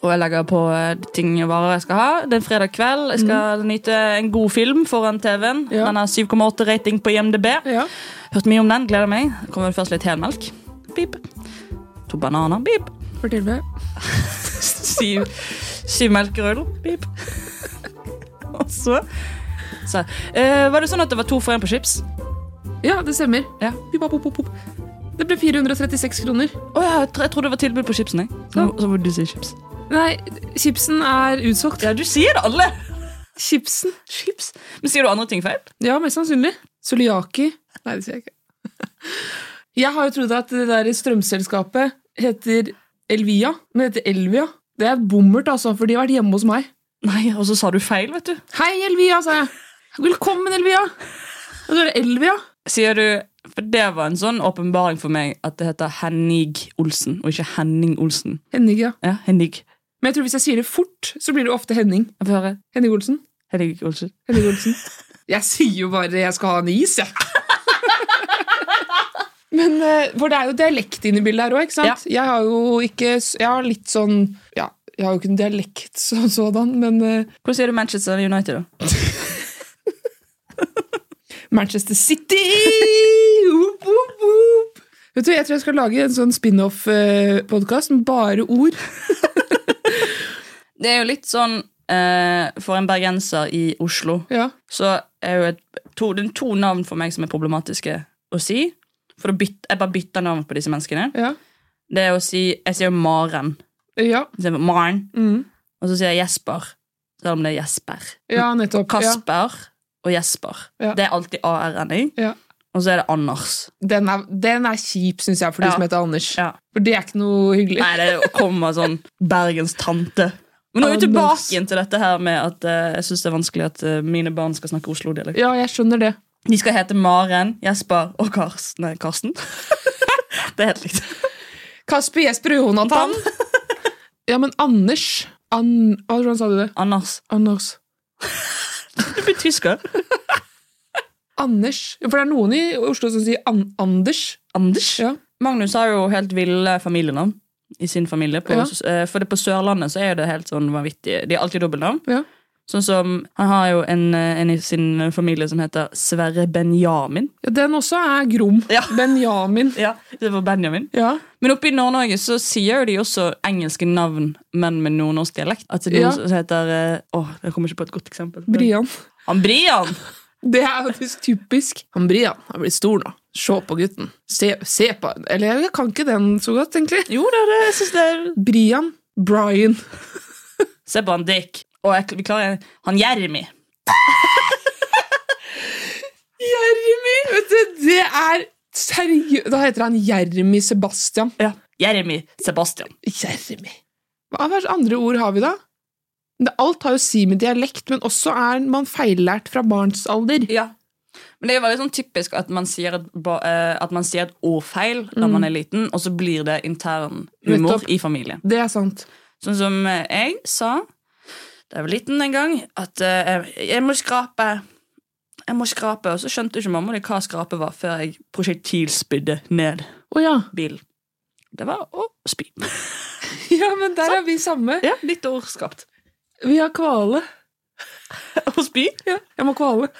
Speaker 1: og jeg legger på eh, ting og varer jeg skal ha. Det er en fredag kveld. Jeg skal nyte en god film foran TV-en.
Speaker 2: Ja.
Speaker 1: Den har 7,8 rating på IMDb.
Speaker 2: Ja.
Speaker 1: Hørt mye om den, gleder meg. Kommer først litt helmelk. Pip. To bananer. Pip.
Speaker 2: Fortell meg.
Speaker 1: Syv, syv melkerøl. Pip. Og så, så eh, Var det sånn at det var to for én på chips?
Speaker 2: Ja, det stemmer.
Speaker 1: Ja.
Speaker 2: Pip, pop, pop, pop. Det ble 436 kroner.
Speaker 1: Å ja, jeg, tro- jeg trodde det var tilbud på chipsen. Jeg. Så, så må du si chips.
Speaker 2: Nei, chipsen er utsolgt.
Speaker 1: Ja, du sier det, alle!
Speaker 2: Chipsen.
Speaker 1: Chips. Men sier du andre ting feil?
Speaker 2: Ja, mest sannsynlig. Soliaki. Nei, det sier jeg ikke. Jeg har jo trodd at det der strømselskapet heter Elvia, men det heter Elvia. Det er et bommert, altså, for de har vært hjemme hos meg.
Speaker 1: Nei, og så sa du feil, vet du.
Speaker 2: Hei, Elvia, sa jeg. Velkommen, Elvia. Og så er det Elvia.
Speaker 1: Sier du For det var en sånn åpenbaring for meg at det heter Hennig Olsen, og ikke Henning Olsen.
Speaker 2: Henning, ja.
Speaker 1: Ja, Hennig.
Speaker 2: Men jeg tror hvis jeg sier det fort, så blir det ofte Henning.
Speaker 1: Jeg får høre.
Speaker 2: Henning Olsen.
Speaker 1: Henning Olsen.
Speaker 2: Henning Olsen. Jeg sier jo bare jeg skal ha en is, jeg. Men, eh, for det er jo dialekt inne i bildet her òg, ikke sant? Jeg har jo ikke s- Jeg har litt sånn Ja, jeg har jo ikke en dialekt som sådan, men eh,
Speaker 1: Hvordan sier du Manchester United, da?
Speaker 2: Manchester City! Whoop, whoop, whoop. Vet du, Jeg tror jeg skal lage en sånn spin-off-podkast med bare ord.
Speaker 1: Det er jo litt sånn eh, for en bergenser i Oslo.
Speaker 2: Ja.
Speaker 1: så er jo et, to, det er to navn for meg som er problematiske å si. For å bytte, jeg bare bytter navn på disse menneskene.
Speaker 2: Ja.
Speaker 1: Det er å si Jeg sier jo Maren.
Speaker 2: Ja,
Speaker 1: I stedet for Maren.
Speaker 2: Mhm.
Speaker 1: Og så sier jeg Jesper, selv om det er Jesper.
Speaker 2: ja nettopp. Ja.
Speaker 1: Kasper og Jesper.
Speaker 2: Ja.
Speaker 1: Det er alltid ARN i.
Speaker 2: Ja.
Speaker 1: Og så er det Anders.
Speaker 2: Den, er, den er kjip, syns jeg,
Speaker 1: Ja.
Speaker 2: for de som heter Anders.
Speaker 1: Ja.
Speaker 2: For det er ikke noe hyggelig.
Speaker 1: Nei, det kommer sånn Bergens tante. Men nå er vi tilbake
Speaker 2: Anders.
Speaker 1: igjen til dette her med at eh, jeg syns det er vanskelig at eh, mine barn skal snakke Oslo-dialekt.
Speaker 2: Ja, jeg skjønner det.
Speaker 1: De skal hete Maren, Jesper og Karsten. Nei, Karsten. det er helt likt.
Speaker 2: Kasper, Jesper og Jonathan. ja, men Anders An Hva- Hvordan sa du det?
Speaker 1: Anders.
Speaker 2: Anders.
Speaker 1: Du blir tysker.
Speaker 2: Anders. Ja, For det er noen i Oslo som sier An Anders.
Speaker 1: Anders.
Speaker 2: Ja.
Speaker 1: Magnus har jo helt ville familienavn i sin familie. På,
Speaker 2: Ja.
Speaker 1: eh, For det på Sørlandet så er det helt sånn vanvittig. De har alltid dobbeltnavn.
Speaker 2: Ja.
Speaker 1: Sånn som Han har jo en, eh, en i sin familie som heter Sverre Benjamin.
Speaker 2: Ja, den også er grom.
Speaker 1: Ja.
Speaker 2: Benjamin.
Speaker 1: Ja, det var Benjamin.
Speaker 2: Ja.
Speaker 1: Men oppe i Nord-Norge så sier jo de også engelske navn, men med nordnorsk dialekt. At det er
Speaker 2: Ja.
Speaker 1: noen som heter eh, Åh, jeg kommer ikke på et godt eksempel.
Speaker 2: Brian.
Speaker 1: Han Brian!
Speaker 2: Det er faktisk typisk. Han Brian han blir stor nå. Se på gutten. Se, se på Eller jeg kan ikke den så godt, egentlig.
Speaker 1: Jo da, det, jeg synes det er
Speaker 2: Brian. Brian.
Speaker 1: Se på han Dick. Og jeg, vi klarer Han Jeremy.
Speaker 2: Jeremy! Vet du, det er seriøst Da heter han Jeremy Sebastian.
Speaker 1: Ja. Jeremy Sebastian.
Speaker 2: Jeremy. Hva hva slags andre ord har vi da? Det, alt har jo å si med dialekt, men også er man feillært fra barns alder.
Speaker 1: Ja. Men det er jo veldig sånn typisk at man sier et, ba- eh, at man sier et ordfeil da man er liten, og så blir det intern humor
Speaker 2: Mm. Nettopp.
Speaker 1: i familien.
Speaker 2: Det er sant.
Speaker 1: Sånn som eh, jeg sa da jeg var liten en gang, at eh, jeg- jeg må skrape. Jeg må skrape, Og så skjønte ikke mamma det hva skrape var, før jeg prosjektilspydde ned
Speaker 2: Å ja.
Speaker 1: bilen. Det var å spy.
Speaker 2: Ja, men der er vi samme.
Speaker 1: Ja, Litt ordskapt.
Speaker 2: Vi har kvale.
Speaker 1: Å spy?
Speaker 2: Ja, jeg må kvale.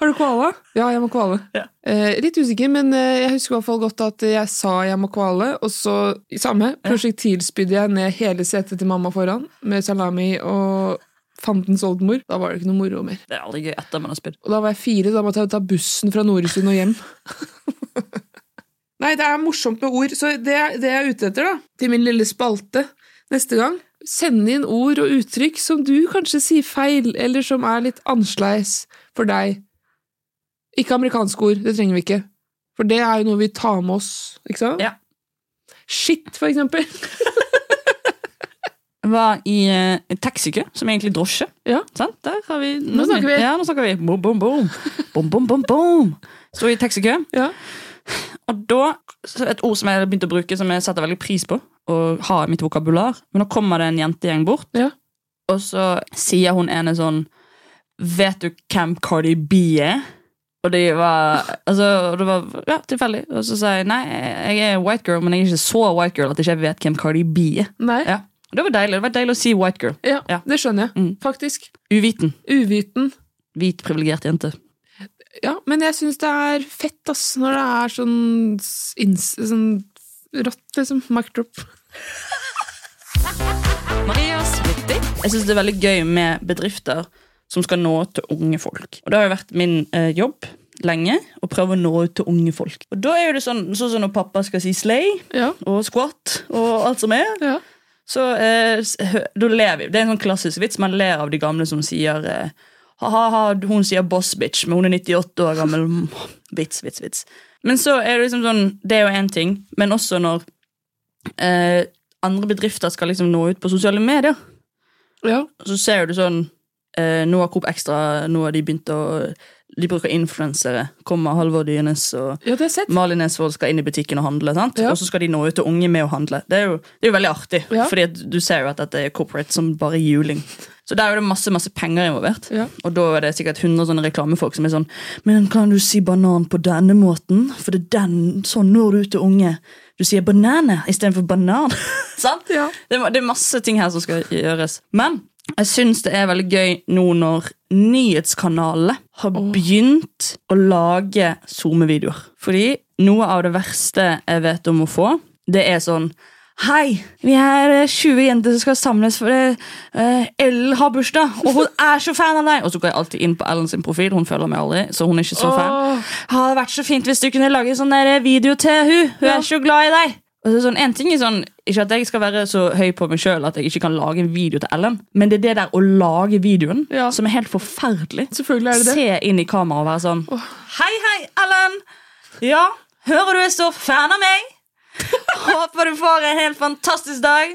Speaker 2: Har du kvala? Ja, jeg må kvale.
Speaker 1: Ja.
Speaker 2: Eh, litt usikker, men eh, jeg husker i hvert fall godt at jeg sa jeg må kvale, og så i samme prosjektilspydde jeg ned hele setet til mamma foran med salami og fandens oldemor. Da var det ikke noe moro mer.
Speaker 1: Det er aldri gøy etter man har spydd.
Speaker 2: Og da var jeg fire, så da måtte jeg ta bussen fra Noresund og hjem. Nei, det er morsomt med ord, så det er det jeg er ute etter, da. Til min lille spalte neste gang. Send inn ord og uttrykk som du kanskje sier feil, eller som er litt annerledes for deg. Ikke amerikanske ord, det trenger vi ikke. For det er jo noe vi tar med oss, ikke sant?
Speaker 1: Ja.
Speaker 2: Shit, for eksempel.
Speaker 1: Jeg var i eh, en taxikø, som er egentlig drosje.
Speaker 2: Ja.
Speaker 1: Sant? Der har vi
Speaker 2: Nå snakker vi.
Speaker 1: Ja, nå snakker vi. Boom, boom, boom. Boom, boom, boom, boom. Sto i taxikø.
Speaker 2: Ja.
Speaker 1: Og da, så Et ord som jeg begynte å bruke, som jeg setter veldig pris på å ha i mitt vokabular. Men nå kommer det en jentegjeng bort,
Speaker 2: Ja.
Speaker 1: og så sier hun ene sånn Vet du hvem Cardi B er? Og de var, altså, og det var ja, tilfeldig. Og så sa jeg nei, jeg er white girl, men jeg er ikke så white girl at jeg ikke vet hvem Cardi B er.
Speaker 2: Nei.
Speaker 1: Ja. Og Det var deilig det var deilig å si white girl.
Speaker 2: Ja,
Speaker 1: Ja.
Speaker 2: det skjønner jeg.
Speaker 1: Mm.
Speaker 2: Faktisk.
Speaker 1: Uviten.
Speaker 2: Uviten.
Speaker 1: Hvit, privilegert jente.
Speaker 2: Ja, men jeg syns det er fett ass, når det er sånn, s- inns- sånn rått, liksom. Mic drop.
Speaker 1: Jeg synes det er veldig gøy med bedrifter som skal nå ut til unge folk. Og det har jo vært min eh, jobb lenge å prøve å nå ut til unge folk. Og da er jo det sånn, sånn som når pappa skal si slay
Speaker 2: Ja.
Speaker 1: og squat og alt som er,
Speaker 2: ja.
Speaker 1: så eh, s- hø- da ler vi. Det er en sånn klassisk vits. Man ler av de gamle som sier eh, ha-ha, hun sier boss bitch, men hun er 98 år gammel. Vits, vits, vits. Men så er det liksom sånn, det er jo én ting, men også når eh, andre bedrifter skal liksom nå ut på sosiale medier
Speaker 2: ja.
Speaker 1: så ser du sånn eh, Nå har Coop Extra Nå har de begynt å De bruker influensere. Kommer Halvor Dynes og
Speaker 2: Ja, det har jeg sett.
Speaker 1: Malin Nesvold skal inn i butikken og handle. sant?
Speaker 2: Ja.
Speaker 1: Og så skal de nå ut til unge med å handle. Det er jo, det er jo veldig artig,
Speaker 2: Ja.
Speaker 1: Fordi at du ser jo at dette er corporate som bare juling. Så der er det masse masse penger involvert.
Speaker 2: Ja.
Speaker 1: Og da er det sikkert 100 sånne reklamefolk som er sånn Men kan du si banan på denne måten? For det er den, sånn når du ut til unge. Du sier banane istedenfor banan. sant?
Speaker 2: Ja.
Speaker 1: Det, er- det er masse ting her som skal gjøres. Men jeg syns det er veldig gøy nå når nyhetskanalene har begynt å lage SoMe-videoer. Fordi noe av det verste jeg vet om å få, det er sånn Hei, vi er eh, 20 jenter som skal samles for eh, eh, Ellen har bursdag, og hun er så fan av deg! Og så går jeg alltid inn på Ellen sin profil, hun følger meg aldri, så hun er ikke så fan. Det hadde vært så fint hvis du kunne lage sånn der video til hun Hun er så glad i deg! Og så er det sånn, en ting er sånn, Ikke at jeg skal være så høy på meg sjøl at jeg ikke kan lage en video til Ellen, men det er det der å lage videoen
Speaker 2: Ja.
Speaker 1: som er helt forferdelig.
Speaker 2: Selvfølgelig er det det.
Speaker 1: Se inn i kameraet og være sånn Hei, hei, Ellen! Ja, hører du er stor fan av meg? Håper du får en helt fantastisk dag.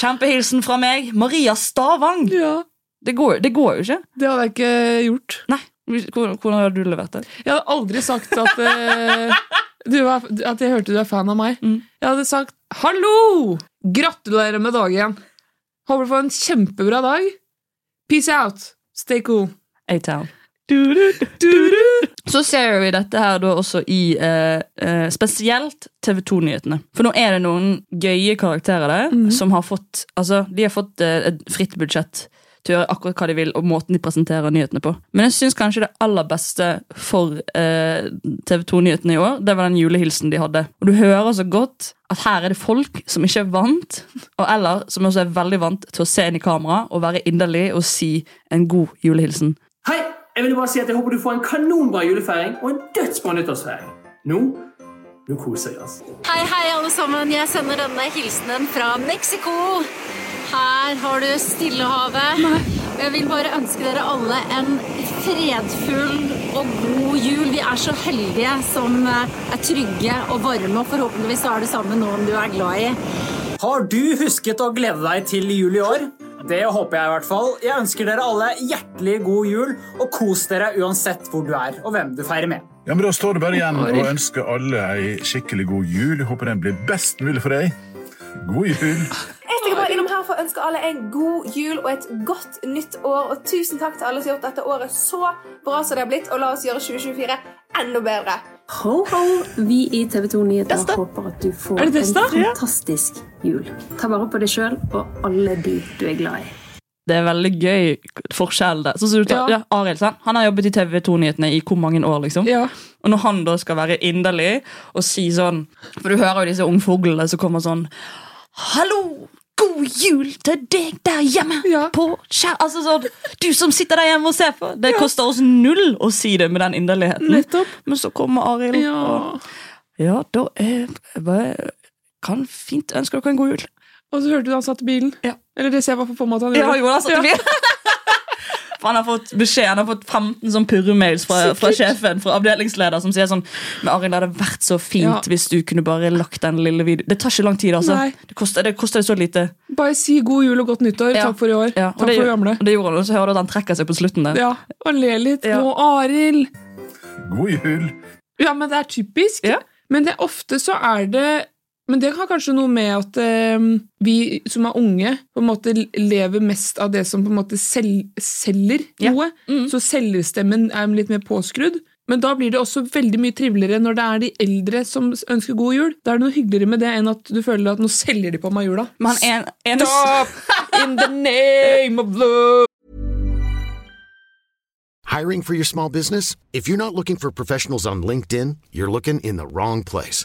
Speaker 1: Kjempehilsen fra meg, Maria Stavang.
Speaker 2: Ja,
Speaker 1: Det går, det går jo ikke.
Speaker 2: Det hadde jeg ikke gjort.
Speaker 1: Nei, Hvordan, hvordan har du levert det?
Speaker 2: Jeg hadde aldri sagt at, eh, du var, at jeg hørte du er fan av meg. Jeg hadde sagt 'hallo! Gratulerer med dagen! Håper du får en kjempebra dag. Peace out! Stay cool'.
Speaker 1: A-Town. Så ser vi dette her da også i eh, eh, spesielt TV 2-nyhetene. For nå er det noen gøye karakterer der som har fått altså, de har fått eh, et fritt budsjett til å gjøre akkurat hva de vil, og måten de presenterer nyhetene på. Men jeg syns kanskje det aller beste for eh, TV 2-nyhetene i år, det var den julehilsen de hadde. Og du hører så godt at her er det folk som ikke er vant, og eller som også er veldig vant til å se inn i kamera og være inderlig og si en god julehilsen.
Speaker 5: Hei! Jeg ville bare si at jeg håper du får en kanonbra julefeiring og en dødsbra nyttårsfeiring. Nå, nå koser vi oss.
Speaker 6: Hei, hei, alle sammen. Jeg sender denne hilsenen fra Mexico. Her har du Stillehavet. Og jeg vil bare ønske dere alle en fredfull og god jul. Vi er så heldige som eh, er trygge og varme, og forhåpentligvis så er du sammen med noen du er glad i.
Speaker 5: Har du husket å glede deg til jul i år? Det håper jeg i hvert fall. Jeg ønsker dere alle hjertelig god jul, og kos dere uansett hvor du er og hvem du feirer med.
Speaker 7: Ja, men Da står det bare igjen å ønske alle ei skikkelig god jul. Jeg håper den blir best mulig for deg. God jul.
Speaker 4: Jeg stikker bare innom her for å ønske alle en god jul og et godt nytt år. Og tusen takk til alle som har gjort dette året så bra som det har blitt. Og la oss gjøre 2024 enda bedre.
Speaker 8: Ho, ho. Vi i TV 2 Nyheter
Speaker 1: Testa.
Speaker 8: håper at du får
Speaker 2: Er det
Speaker 8: en
Speaker 2: testa? Ja.
Speaker 8: fantastisk jul. Ta vare på deg sjøl og alle de du er glad i.
Speaker 1: Det er veldig gøy forskjell der. Sånn som du tar,
Speaker 2: Ja.
Speaker 1: ja. Arild, sant? Han har jobbet i TV 2-nyhetene i hvor mange år? liksom?
Speaker 2: Ja.
Speaker 1: Og når han da skal være inderlig og si sånn For du hører jo disse ungfuglene som kommer sånn Hallo! God
Speaker 9: God jul til deg der hjemme! På skjær... Altså sånn, Du som sitter der hjemme og ser på! Det koster oss null å si det med den inderligheten. Men så kommer Arild. og- Ja, da er bare- Kan fint ønske dere en god jul.
Speaker 2: Og så hørte du han satt i bilen. Eller det ser jeg bare for meg at han
Speaker 9: Ja, han gjorde det, han satt i bilen. For han har fått beskjed, han har fått 15 sånn purremails fra, fra sjefen, fra avdelingsleder, som sier sånn Men Arild, det hadde vært så fint
Speaker 2: Ja.
Speaker 9: hvis du kunne bare lagt den lille videoen Det tar ikke lang tid, altså.
Speaker 2: Nei.
Speaker 9: Det koster, det koster så lite.
Speaker 2: Bare si god jul og godt nyttår.
Speaker 9: Ja.
Speaker 2: Takk for i år.
Speaker 9: Ja, og
Speaker 2: Takk
Speaker 9: det,
Speaker 2: for gamle.
Speaker 9: og det gjorde han, og så hører du at han trekker seg på slutten der.
Speaker 2: Ja, og le litt. Nå, Arild!
Speaker 7: God jul.
Speaker 2: Ja, men det er typisk. Men det, ofte så er det Men det har kanskje noe med at eh, vi som er unge, på en måte lever mest av det som på en måte sel selger noe.
Speaker 9: Mm.
Speaker 2: Så selgerstemmen er litt mer påskrudd. Men da blir det også veldig mye triveligere når det er de eldre som ønsker god jul. Da er det noe hyggeligere med det enn at du føler at nå selger de på meg jula.
Speaker 9: Men en, en,
Speaker 2: Stop in the name of love!
Speaker 10: Hiring for your small business? If you're not looking for professionals on LinkedIn, you're looking in the wrong place.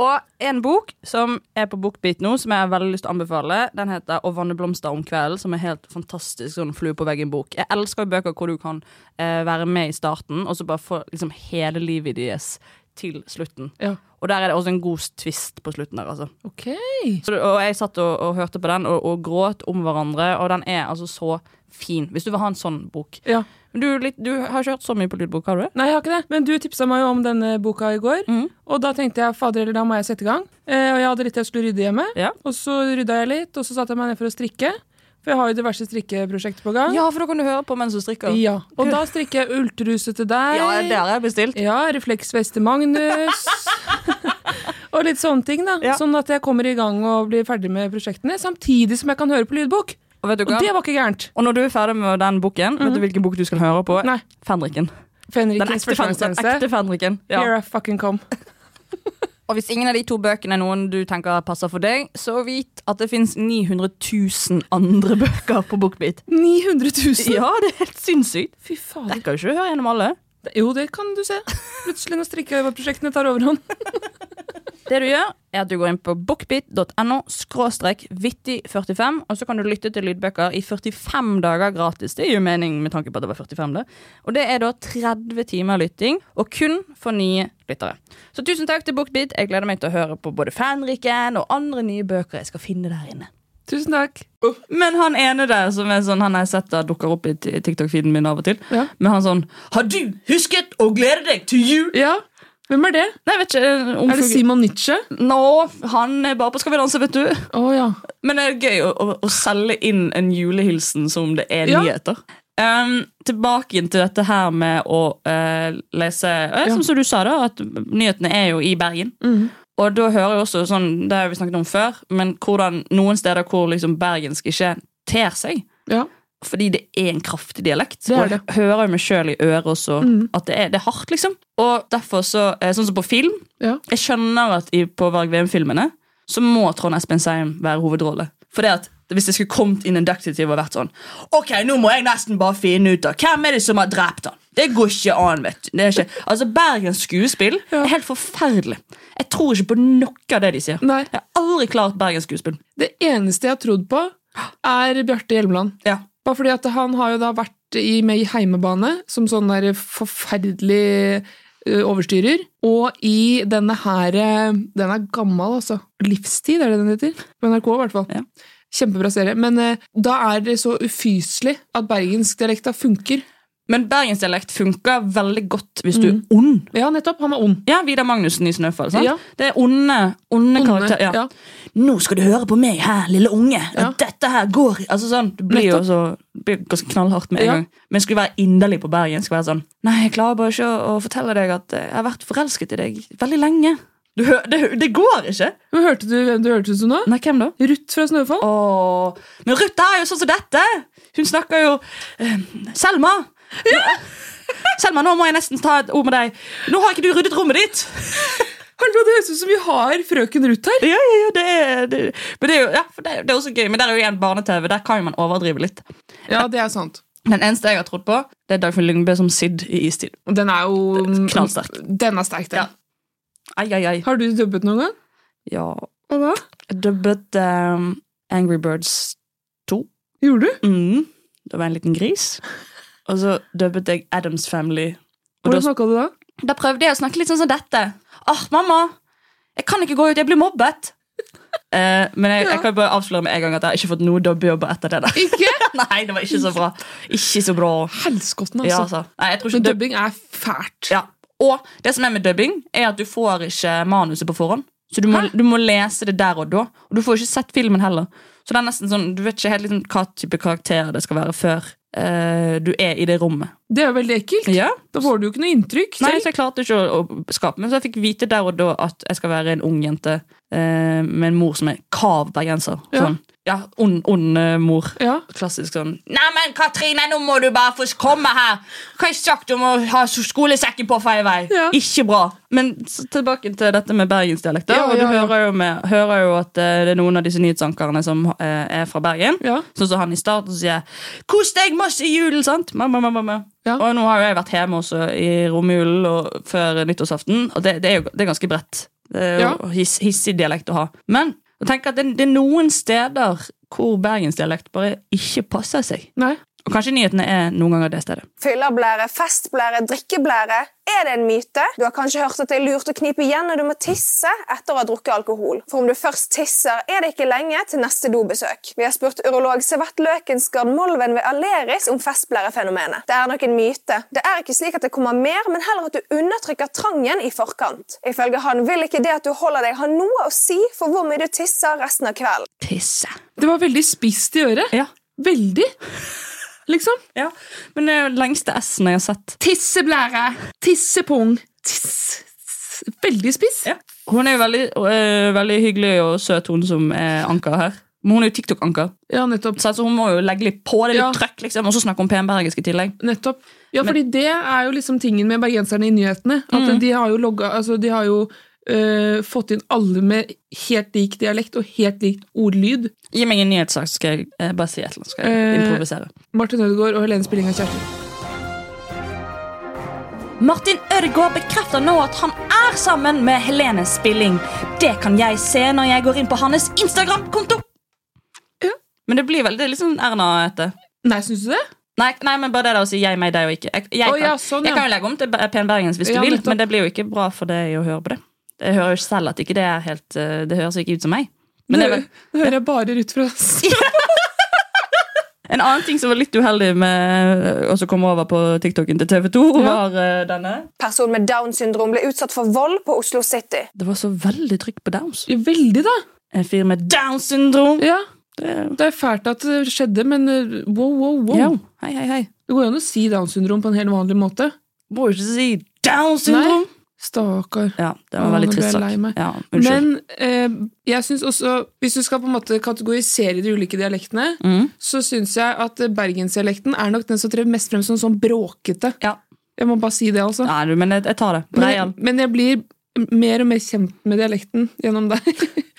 Speaker 1: Og en bok som er på BookBeat nå, som jeg har veldig lyst til å anbefale, den heter Å vanne blomster om kvelden, som er helt fantastisk sånn flue på veggen-bok. Jeg elsker jo bøker hvor du kan eh, være med i starten, og så bare få liksom hele livet deres til slutten. Og der er det også en god twist på slutten der, altså. Så, det- og jeg satt og, og hørte på den, og, og gråt om hverandre, og den er altså så fin. Hvis du vil ha en sånn bok. Men du, er litt, du har ikke hørt så mye på lydbok, har du det?
Speaker 2: Nei, jeg har ikke det. Men du tipsa meg jo om denne boka i går.
Speaker 1: Mm.
Speaker 2: Og da tenkte jeg fader eller da må jeg sette i gang. Eh, og jeg hadde litt jeg skulle rydde hjemme. Og så rydda jeg litt, og så satte jeg meg ned for å strikke. For jeg har jo diverse strikkeprosjekter på gang.
Speaker 1: Ja, for da kan du høre på mens du strikker.
Speaker 2: Ja, Og da strikker jeg ultruse til deg.
Speaker 1: Ja, det har jeg bestilt.
Speaker 2: Ja, refleksvest til Magnus. og litt sånne ting, da. Sånn at jeg kommer i gang og blir ferdig med prosjektene. Samtidig som jeg kan høre på lydbok.
Speaker 1: Og, vet du hva?
Speaker 2: og det var ikke gærent.
Speaker 1: Og når du er ferdig med den boken, vet du hvilken bok du skal høre på?
Speaker 2: Nei.
Speaker 1: Fenriken.
Speaker 2: Fenrikens
Speaker 1: Den ekte, fen den
Speaker 2: førstegangstjeneste.
Speaker 1: ekte Fenriken.
Speaker 2: Here I fucking come.
Speaker 1: Og hvis ingen av de to bøkene er noen du tenker passer for deg, så vit at det fins 900 000 andre bøker på BookBeat.
Speaker 2: 900 000?
Speaker 1: Ja, det er helt sinnssykt.
Speaker 2: Fy fader.
Speaker 1: Rekker jo ikke å høre gjennom alle.
Speaker 2: Jo, det kan du se. Plutselig når strikkeprosjektene tar overhånd.
Speaker 1: Det du gjør, er at du går inn på bookbit.no skråstrek vittig45, og så kan du lytte til lydbøker i 45 dager gratis. Det gir jo mening med tanke på at det var 45, det. Og det er da 30 timer lytting, og kun for nye lyttere. Så tusen takk til Bookbit. Jeg gleder meg til å høre på både Fanriken og andre nye bøker jeg skal finne der inne.
Speaker 2: Tusen takk.
Speaker 1: Men han ene der som er sånn, han har sett der dukker opp i t- TikTok-feeden min av og til. Men han sånn Har du husket å glede deg til jul?
Speaker 2: Ja. Hvem er det?
Speaker 1: Nei, jeg vet ikke. eh,
Speaker 2: Er det Simon Nietzsche?
Speaker 1: Nå, han er bare på Skal vi danse, vet du.
Speaker 2: Å, ja.
Speaker 1: Men det er gøy å, å, å selge inn en julehilsen som det er
Speaker 2: Ja.
Speaker 1: nyheter. Ehm, tilbake igjen til dette her med å eh, lese eh, Som som du sa, da, at nyhetene er jo i Bergen. Og da hører jeg også sånn, det har vi snakket om før, men hvordan noen steder hvor liksom bergensk ikke ter seg. Fordi det er en kraftig dialekt.
Speaker 2: Det er det.
Speaker 1: Og jeg hører jo meg sjøl i øret også
Speaker 2: Mhm.
Speaker 1: at det er, det er hardt, liksom. Og derfor så, eh, Sånn som på film. Jeg skjønner at i, på Varg Veum-filmene så må Trond Espen Seim være hovedrolle. For det at hvis det skulle kommet inn en detektiv og vært sånn Ok, nå må jeg nesten bare finne ut av hvem er det som har drept han. Det går ikke an, vet du. Det er ikke, altså, Bergens skuespill er helt forferdelig. Jeg tror ikke på noe av det de sier.
Speaker 2: Nei.
Speaker 1: Jeg har aldri klart Bergens skuespill.
Speaker 2: Det eneste jeg har trodd på, er Bjarte Hjelmeland. Bare fordi at han har jo da vært i, med i Heimebane, som sånn der forferdelig ø, overstyrer. Og i denne her ø, Den er gammel, altså. Livstid, er det den heter? På NRK, i hvert fall. Kjempebra serie. Men ø, da er det så ufyselig at bergensk dialekta funker.
Speaker 1: Men bergensdialekt funker veldig godt hvis du
Speaker 2: Mm.
Speaker 1: er ond.
Speaker 2: Ja, nettopp. Han var ond.
Speaker 1: Ja, Vidar Magnussen i Snøfall. sant?
Speaker 2: Ja.
Speaker 1: Det er onde, onde, karakterer. Ja. Nå skal du høre på meg her, lille unge. At Dette her går altså sånn, Det blir jo
Speaker 9: Nettopp.
Speaker 1: så, det blir ganske knallhardt med en
Speaker 9: Ja.
Speaker 1: gang. Men skulle være inderlig på Bergen. Skulle være sånn Nei, jeg klarer bare ikke å, å fortelle deg at eh, jeg har vært forelsket i deg veldig lenge. Du hø det, hø- det går ikke!
Speaker 2: Men Hørte du hvem du hørtes ut som da?
Speaker 1: Nei, hvem da?
Speaker 2: Ruth fra Snøfall.
Speaker 1: Men Ruth er jo sånn som dette! Hun snakker jo eh, Selma! Selma, nå må jeg nesten ta et ord med deg. Nå har ikke du ryddet rommet ditt!
Speaker 2: Hallo, det høres ut som vi har frøken Ruth her.
Speaker 1: Ja, ja, ja, det er, det, men det er jo ja, for det, er- det er også gøy, men der er jo igjen barne-TV. Der kan jo man overdrive litt.
Speaker 2: Ja, det er sant.
Speaker 1: Den eneste jeg har trodd på, det er Dagfinn Lyngbø som Sid i Istid.
Speaker 2: Den er jo
Speaker 1: Knallsterk.
Speaker 2: Den er sterk, den.
Speaker 1: Ai, ai, ai.
Speaker 2: Har du dubbet noen gang?
Speaker 1: Ja.
Speaker 2: Hva da?
Speaker 1: Jeg dubbet ehm, Angry Birds 2.
Speaker 2: Gjorde du?
Speaker 1: Mm. Da var jeg en liten gris. Og så dubbet jeg Adams Family. Og
Speaker 2: Hvordan snakka du da?
Speaker 1: Da prøvde jeg å snakke litt sånn som dette. Ah, mamma! Jeg kan ikke gå ut, jeg blir mobbet! Eh, men jeg, jeg kan bare avsløre med en gang at jeg har ikke fått noe dobbejobber etter det. der
Speaker 2: Ikke?
Speaker 1: Nei, det var ikke så bra. Ikke så bra.
Speaker 2: Helskotten, altså.
Speaker 1: Ja, altså. Nei, jeg tror ikke
Speaker 2: Men
Speaker 1: dub-
Speaker 2: dubbing er fælt.
Speaker 1: Ja. Og det som er med dubbing, er at du får ikke manuset på forhånd. Så du må, du må lese det der og da. Og du får ikke sett filmen heller. Så det er nesten sånn, du vet ikke helt liksom, hva type karakter det skal være før eh, du er i det rommet.
Speaker 2: Det er jo veldig ekkelt.
Speaker 1: Ja.
Speaker 2: Da får du jo ikke noe inntrykk.
Speaker 1: Nei,
Speaker 2: selv.
Speaker 1: så jeg klarte ikke å, å skape Men så jeg fikk vite der og da at jeg skal være en ung jente eh, med en mor som er kav bergenser.
Speaker 9: Ja.
Speaker 1: Sånn. Ja, ond, ond eh, mor. Klassisk sånn Neimen, Katrine, nå må du bare få komme her! Hva har jeg sagt om å ha skolesekken på feil vei? Ikke bra. Men s- tilbake til dette med bergensdialekt. da.
Speaker 9: Ja,
Speaker 1: og du
Speaker 9: ja, ja.
Speaker 1: hører, jo med, hører jo at eh, det er noen av disse nyhetsankerne som eh, er fra Bergen. Sånn som han i starten sier 'Kos deg masse i julen', sant? Mamma, mamma, mamma. Og nå har jo jeg vært hjemme også i romjulen og før nyttårsaften, og det, det er jo det er ganske bredt. Det er jo
Speaker 9: Ja.
Speaker 1: hiss, hissig dialekt å ha. Men jeg tenker at det, det er noen steder hvor bergensdialekt bare ikke passer seg. Og kanskje nyhetene er noen ganger det stedet.
Speaker 11: Fyllerblære, festblære, drikkeblære. Er det en myte? Du har kanskje hørt at det er lurt å knipe igjen når du må tisse etter å ha drukket alkohol. For om du først tisser, er det ikke lenge til neste dobesøk. Vi har spurt urolog Sevett Løkensgard Molven ved Aleris om festblærefenomenet. Det er nok en myte. Det er ikke slik at det kommer mer, men heller at du undertrykker trangen i forkant. Ifølge han vil ikke det at du holder deg ha noe å si for hvor mye du tisser resten av kvelden.
Speaker 1: Tisse.
Speaker 2: Det var veldig spisst i øret. Veldig. Liksom.
Speaker 1: Ja, Men det er jo lengste S-en jeg har sett.
Speaker 2: Tisseblære! Tissepung! Tiss. Veldig spiss.
Speaker 1: Hun er jo veldig, øh, veldig hyggelig og søt, hun som er anker her. Men hun er jo TikTok-anker,
Speaker 2: Ja, nettopp.
Speaker 1: så altså, hun må jo legge litt på det litt
Speaker 2: Ja.
Speaker 1: trøkk, liksom, og så snakke om penbergisk i tillegg.
Speaker 2: Nettopp. Ja, fordi det er jo liksom tingen med bergenserne i nyhetene. At
Speaker 1: Mm.
Speaker 2: de har jo, logga, altså de har jo øh, fått inn alle med helt lik dialekt og helt likt ordlyd.
Speaker 1: Gi meg en nyhetssak, så skal jeg eh, bare si et eller annet. så Skal jeg
Speaker 2: Eh,
Speaker 1: improvisere.
Speaker 2: Martin Ødegaard og Helene Spilling er kjærester.
Speaker 9: Martin Ødegaard bekrefter nå at han er sammen med Helene Spilling. Det kan jeg se når jeg går inn på hans Instagram-konto.
Speaker 1: Men det blir vel det er litt sånn Erna etter.
Speaker 2: Nei, syns du det?
Speaker 1: Nei, nei, men bare det der å si jeg, meg, deg og ikke. Jeg, jeg,
Speaker 2: Å,
Speaker 1: kan,
Speaker 2: ja, sånn,
Speaker 1: jeg
Speaker 2: ja.
Speaker 1: kan jo legge om til Be- Pen Bergens hvis
Speaker 2: Ja,
Speaker 1: du vil,
Speaker 2: nettopp.
Speaker 1: men det blir jo ikke bra for deg å høre på det. Jeg hører jo selv at ikke det er helt eh, Det høres jo ikke ut som meg. Men det er vel
Speaker 2: Nå hører jeg bare ut fra
Speaker 1: En annen ting som var litt uheldig med Og som kom over på TikToken til TV 2, var eh, denne.
Speaker 11: Person med Downs syndrom ble utsatt for vold på Oslo City.
Speaker 1: Det var så veldig trykk på Downs.
Speaker 2: Veldig, da.
Speaker 1: En fyr med Downs syndrom.
Speaker 2: Ja. Det er fælt at det skjedde, men øh, wow, wow, wow.
Speaker 1: Ja. Oh. Hei, hei, hei.
Speaker 2: Det går jo an å si Downs syndrom på en helt vanlig måte.
Speaker 1: Må jo ikke si Downs syndrom!
Speaker 2: Stakkar.
Speaker 1: Ja, det var en
Speaker 2: Å,
Speaker 1: veldig
Speaker 2: nå ble
Speaker 1: trist
Speaker 2: jeg
Speaker 1: sak.
Speaker 2: lei meg.
Speaker 1: Ja,
Speaker 2: Men
Speaker 1: unnskyld.
Speaker 2: eh, jeg synes også, hvis du skal på en måte kategorisere de ulike dialektene,
Speaker 1: Mhm.
Speaker 2: så syns jeg at bergensdialekten er nok den som trer mest frem som sånn bråkete. Jeg må bare si det, altså.
Speaker 1: Nei, du, men jeg, jeg tar det.
Speaker 2: Men
Speaker 1: Breial.
Speaker 2: jeg, men jeg blir mer og mer kjent med dialekten gjennom deg.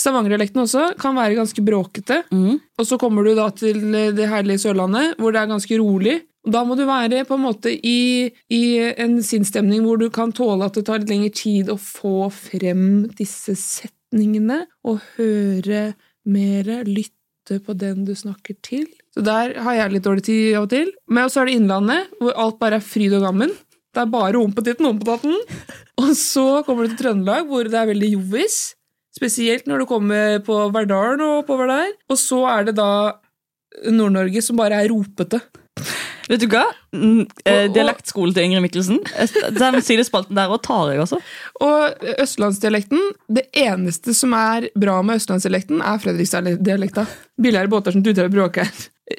Speaker 2: Stavangerdialekten også kan være ganske bråkete. Og så kommer du da til eh, det herlige Sørlandet, hvor det er ganske rolig. Og Da må du være på en måte i, i en sinnsstemning hvor du kan tåle at det tar litt lengre tid å få frem disse setningene, og høre mer, lytte på den du snakker til. Så der har jeg litt dårlig tid av og til. Men så er det Innlandet, hvor alt bare er fryd og gammen. Det er bare ompetitten, ompetatten. Og så kommer du til Trøndelag, hvor det er veldig jovis. Spesielt når du kommer på Verdalen og oppover der. Og så er det da Nord-Norge som bare er ropete.
Speaker 1: Vet du hva? Mm, eh, Dialektskole til Ingrid Mikkelsen. Den sidespalten der også tar jeg, altså.
Speaker 2: Og østlandsdialekten Det eneste som er bra med østlandsdialekten, er Fredrikstad-dialekta. Billigere båter som tuter og bråker.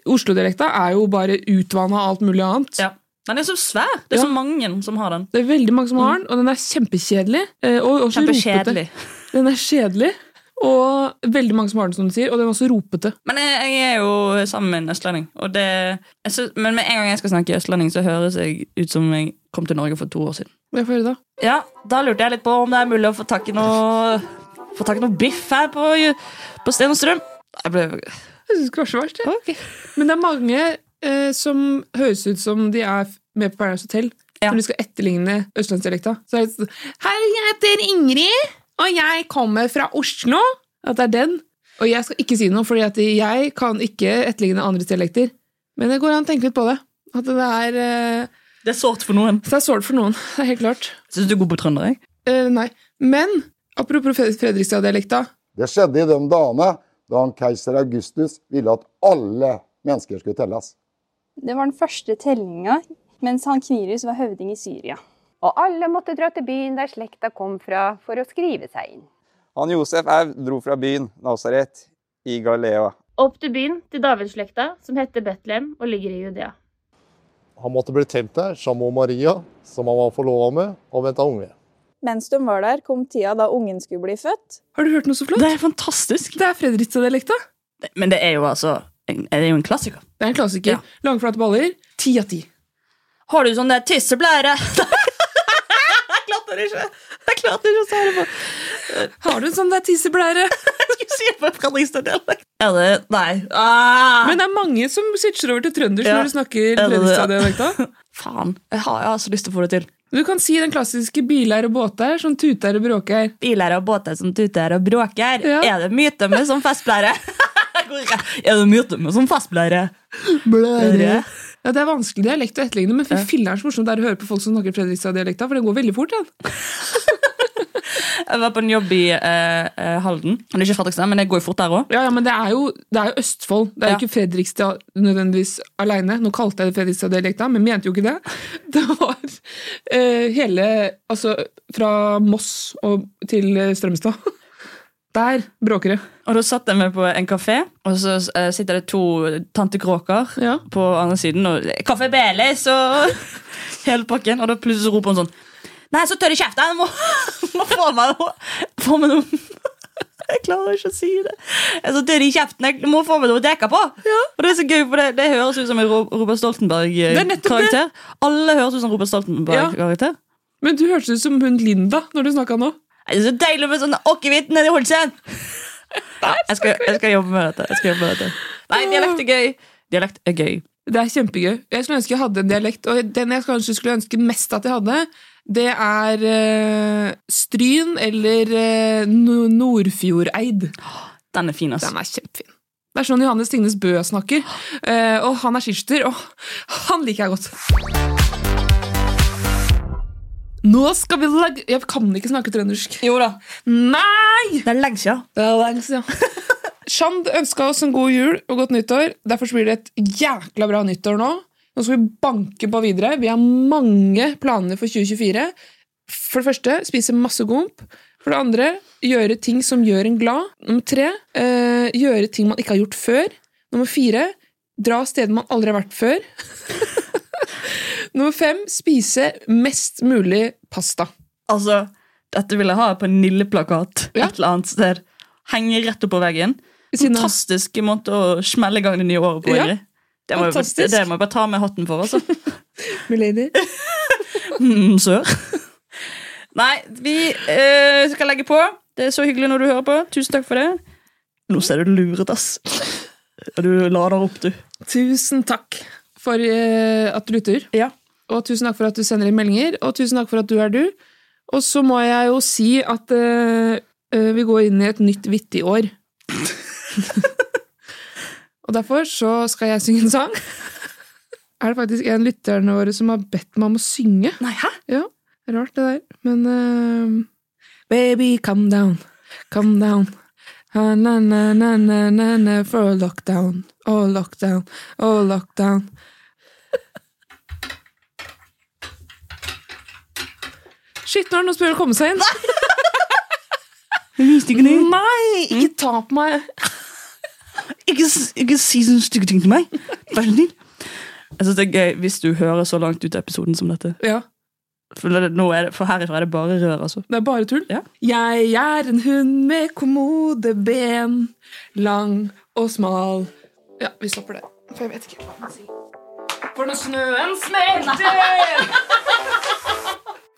Speaker 2: Oslo-dialekta er jo bare utvanna av alt mulig annet.
Speaker 1: Den er så svær! Det er så mange som har den.
Speaker 2: Det er veldig mange som har den, og den er kjempekjedelig. eh, Og også
Speaker 1: Kjempekjedelig.
Speaker 2: ropete. Den er kjedelig, og veldig mange som har den, som du sier, og den er også ropete.
Speaker 1: Men jeg, jeg er jo sammen med en østlending. Og det, jeg synes, men med en gang jeg skal snakke østlending, så høres jeg ut som jeg kom til Norge for to år siden.
Speaker 2: Jeg får høre da.
Speaker 1: Ja, Da lurte jeg litt på om det er mulig å få tak i noe, få tak i noe biff her på, på Sten og Strøm. Jeg ble,
Speaker 2: Jeg synes ikke det var så verst. jeg. Men det er mange eh, som høres ut som de er f- med på Paradise Hotel. Når de skal etterligne østlandsdialekta. Så er det sånn Hei, jeg heter Ingrid, og jeg kommer fra Oslo. At det er den. Og jeg skal ikke si noe, fordi at jeg kan ikke etterligne andres dialekter. Men det går an å tenke litt på det. At det er eh,
Speaker 1: Det er sårt for noen.
Speaker 2: Det er sårt for noen. Det er helt klart.
Speaker 1: Syns du er god på trønder, jeg?
Speaker 2: Eh, nei. Men apropos Fred- Fredrikstad-dialekta.
Speaker 12: Det skjedde i de dagene da han keiser Augustus ville at alle mennesker skulle telles.
Speaker 13: Det var den første tellinga mens han Knirus var høvding i Syria.
Speaker 14: Og alle måtte dra til byen der slekta kom fra, for å skrive seg inn.
Speaker 15: Han Josef Au dro fra byen Nazaret i Galilea.
Speaker 16: Opp til byen til Davidsslekta, som heter Betlehem og ligger i Judea.
Speaker 17: Han måtte bli tent der sammen med Maria, som han var forlova med, og venta unge.
Speaker 18: Mens de var der, kom tida da ungen skulle bli født.
Speaker 2: Har du hørt noe så flott?
Speaker 1: Det er fantastisk.
Speaker 2: Det er Fredrikstad-dialekta.
Speaker 1: Men det er jo altså en- Det er jo en klassiker.
Speaker 2: Det er en klassiker. Langflate baller. Ti av ti.
Speaker 1: Har du sånn der tisseblære? jeg klarte det ikke! Jeg klarte ikke å si det på
Speaker 2: Har du en sånn der tisseblære?
Speaker 1: jeg skulle si det på Fredrikstad-dialekt. Er det Nei. Ah!
Speaker 2: Men det er mange som switcher over til trøndersk
Speaker 1: Ja.
Speaker 2: når du snakker
Speaker 1: Er det det?
Speaker 2: Fredrikstad-dialekta.
Speaker 1: Faen. Jeg har, jeg har så lyst til å få det til.
Speaker 2: Du kan si den klassiske 'bileier og båter som tuter og bråker'.
Speaker 1: Biler og båter som tuter og bråker. Er det myte med som festblære? er det myte med som festblære? Blære.
Speaker 2: Ja, Det er vanskelig dialekt å etterligne, men fy filler'n så morsomt det er å høre på folk som snakker Fredrikstad-dialekta, for det går veldig fort. den.
Speaker 1: Jeg var på en jobb i eh, eh, Halden. Det er ikke Fredrikstad, men det går jo fort der òg.
Speaker 2: Ja, ja, men det er, jo, det er jo Østfold. Det er jo
Speaker 1: Ja.
Speaker 2: ikke Fredrikstad nødvendigvis aleine. Nå kalte jeg det Fredrikstad-dialekta, men mente jo ikke det. Det var eh, hele Altså fra Moss og til eh, Strømstad. Der bråker det.
Speaker 1: Og da satt jeg meg på en kafé, og så eh, sitter det to tantekråker på andre siden. Og eh, Kaffe Beles og hele pakken. Og da plutselig så roper hun sånn Nei, så tørr i kjeften! Jeg må, må få meg noe! Få meg noe. Jeg klarer ikke å si det. Jeg er så tørr i kjeften. Jeg må få meg noe å dekke på! Og Det er så gøy, for det, det høres ut som en Ro- Robert
Speaker 2: Det er nettopp det.
Speaker 1: Stoltenberg-karakter. Alle høres ut som Robert Stoltenberg-karakter.
Speaker 2: Men du hørtes ut som hun Linda når du snakka nå.
Speaker 1: Det er så deilig med sånn akevitt nedi holsen! Jeg skal, jeg skal jobbe med dette. Jeg skal jobbe med dette. Nei, dialekt er gøy. Dialekt er gøy.
Speaker 2: Det er kjempegøy. Jeg skulle ønske jeg hadde en dialekt, og den jeg kanskje skulle ønske mest at jeg hadde, det er eh, Stryn eller eh, no Nordfjordeid.
Speaker 1: Altså. Den er fin,
Speaker 2: Den er kjempefin. Det er sånn Johannes Tingnes Bø snakker, eh, og han er skiskytter, og han liker jeg godt. Nå skal vi legge Jeg kan ikke snakke trøndersk.
Speaker 1: Jo da.
Speaker 2: Nei!
Speaker 1: Det er lenge siden.
Speaker 2: Det er lenge siden. Shand ønska oss en god jul og godt nyttår. Derfor så blir det et jækla bra nyttår nå. Nå skal vi banke på videre. Vi har mange planer for 2024. For det første spise masse gomp. For det andre gjøre ting som gjør en glad. Nummer tre eh, gjøre ting man ikke har gjort før. Nummer fire dra steder man aldri har vært før. Nummer fem spise mest mulig pasta.
Speaker 1: Altså, dette vil jeg ha på en Nille-plakat et eller annet sted. Henge rett opp på veggen. Fantastisk måte å smelle i gang det nye året på.
Speaker 2: Ja,
Speaker 1: Ingrid. Det må, jeg, bare-
Speaker 2: fantastisk.
Speaker 1: det må jeg bare ta med hatten for, altså.
Speaker 2: Milady.
Speaker 1: Mm, sør. Nei, vi eh, skal legge på. Det er så hyggelig når du hører på. Tusen takk for det. Nå ser du luret, ass. Du lader opp, du.
Speaker 2: Tusen takk for eh, at du lytter. Og tusen takk for at du sender inn meldinger, og tusen takk for at du er du. Og så må jeg jo si at eh, eh, vi går inn i et nytt vittig år. og derfor så skal jeg synge en sang. Er det faktisk en av lytterne våre som har bedt meg om å synge?
Speaker 1: Nei, hæ?
Speaker 2: Ja, Rart, det der. Men eh, Baby, come down, come down. Ah, Na, na, na, na, na, na, for lockdown, oh lockdown, oh lockdown. Shit, nå er det noen som prøver å komme seg inn.
Speaker 1: Jeg visste ikke det.
Speaker 2: Nei, ikke ta på meg.
Speaker 1: Ikke, s- ikke si sånne stygge ting til meg. Vær så snill. Jeg synes det er gøy hvis du hører så langt ut i episoden som dette.
Speaker 2: Ja.
Speaker 1: For, det, nå er det, for herifra er det bare rør, altså.
Speaker 2: Det er bare tull. Jeg er en hund med kommode ben, lang og smal. Ja, vi stopper det. For jeg vet ikke hva man sier. For når snøen smelter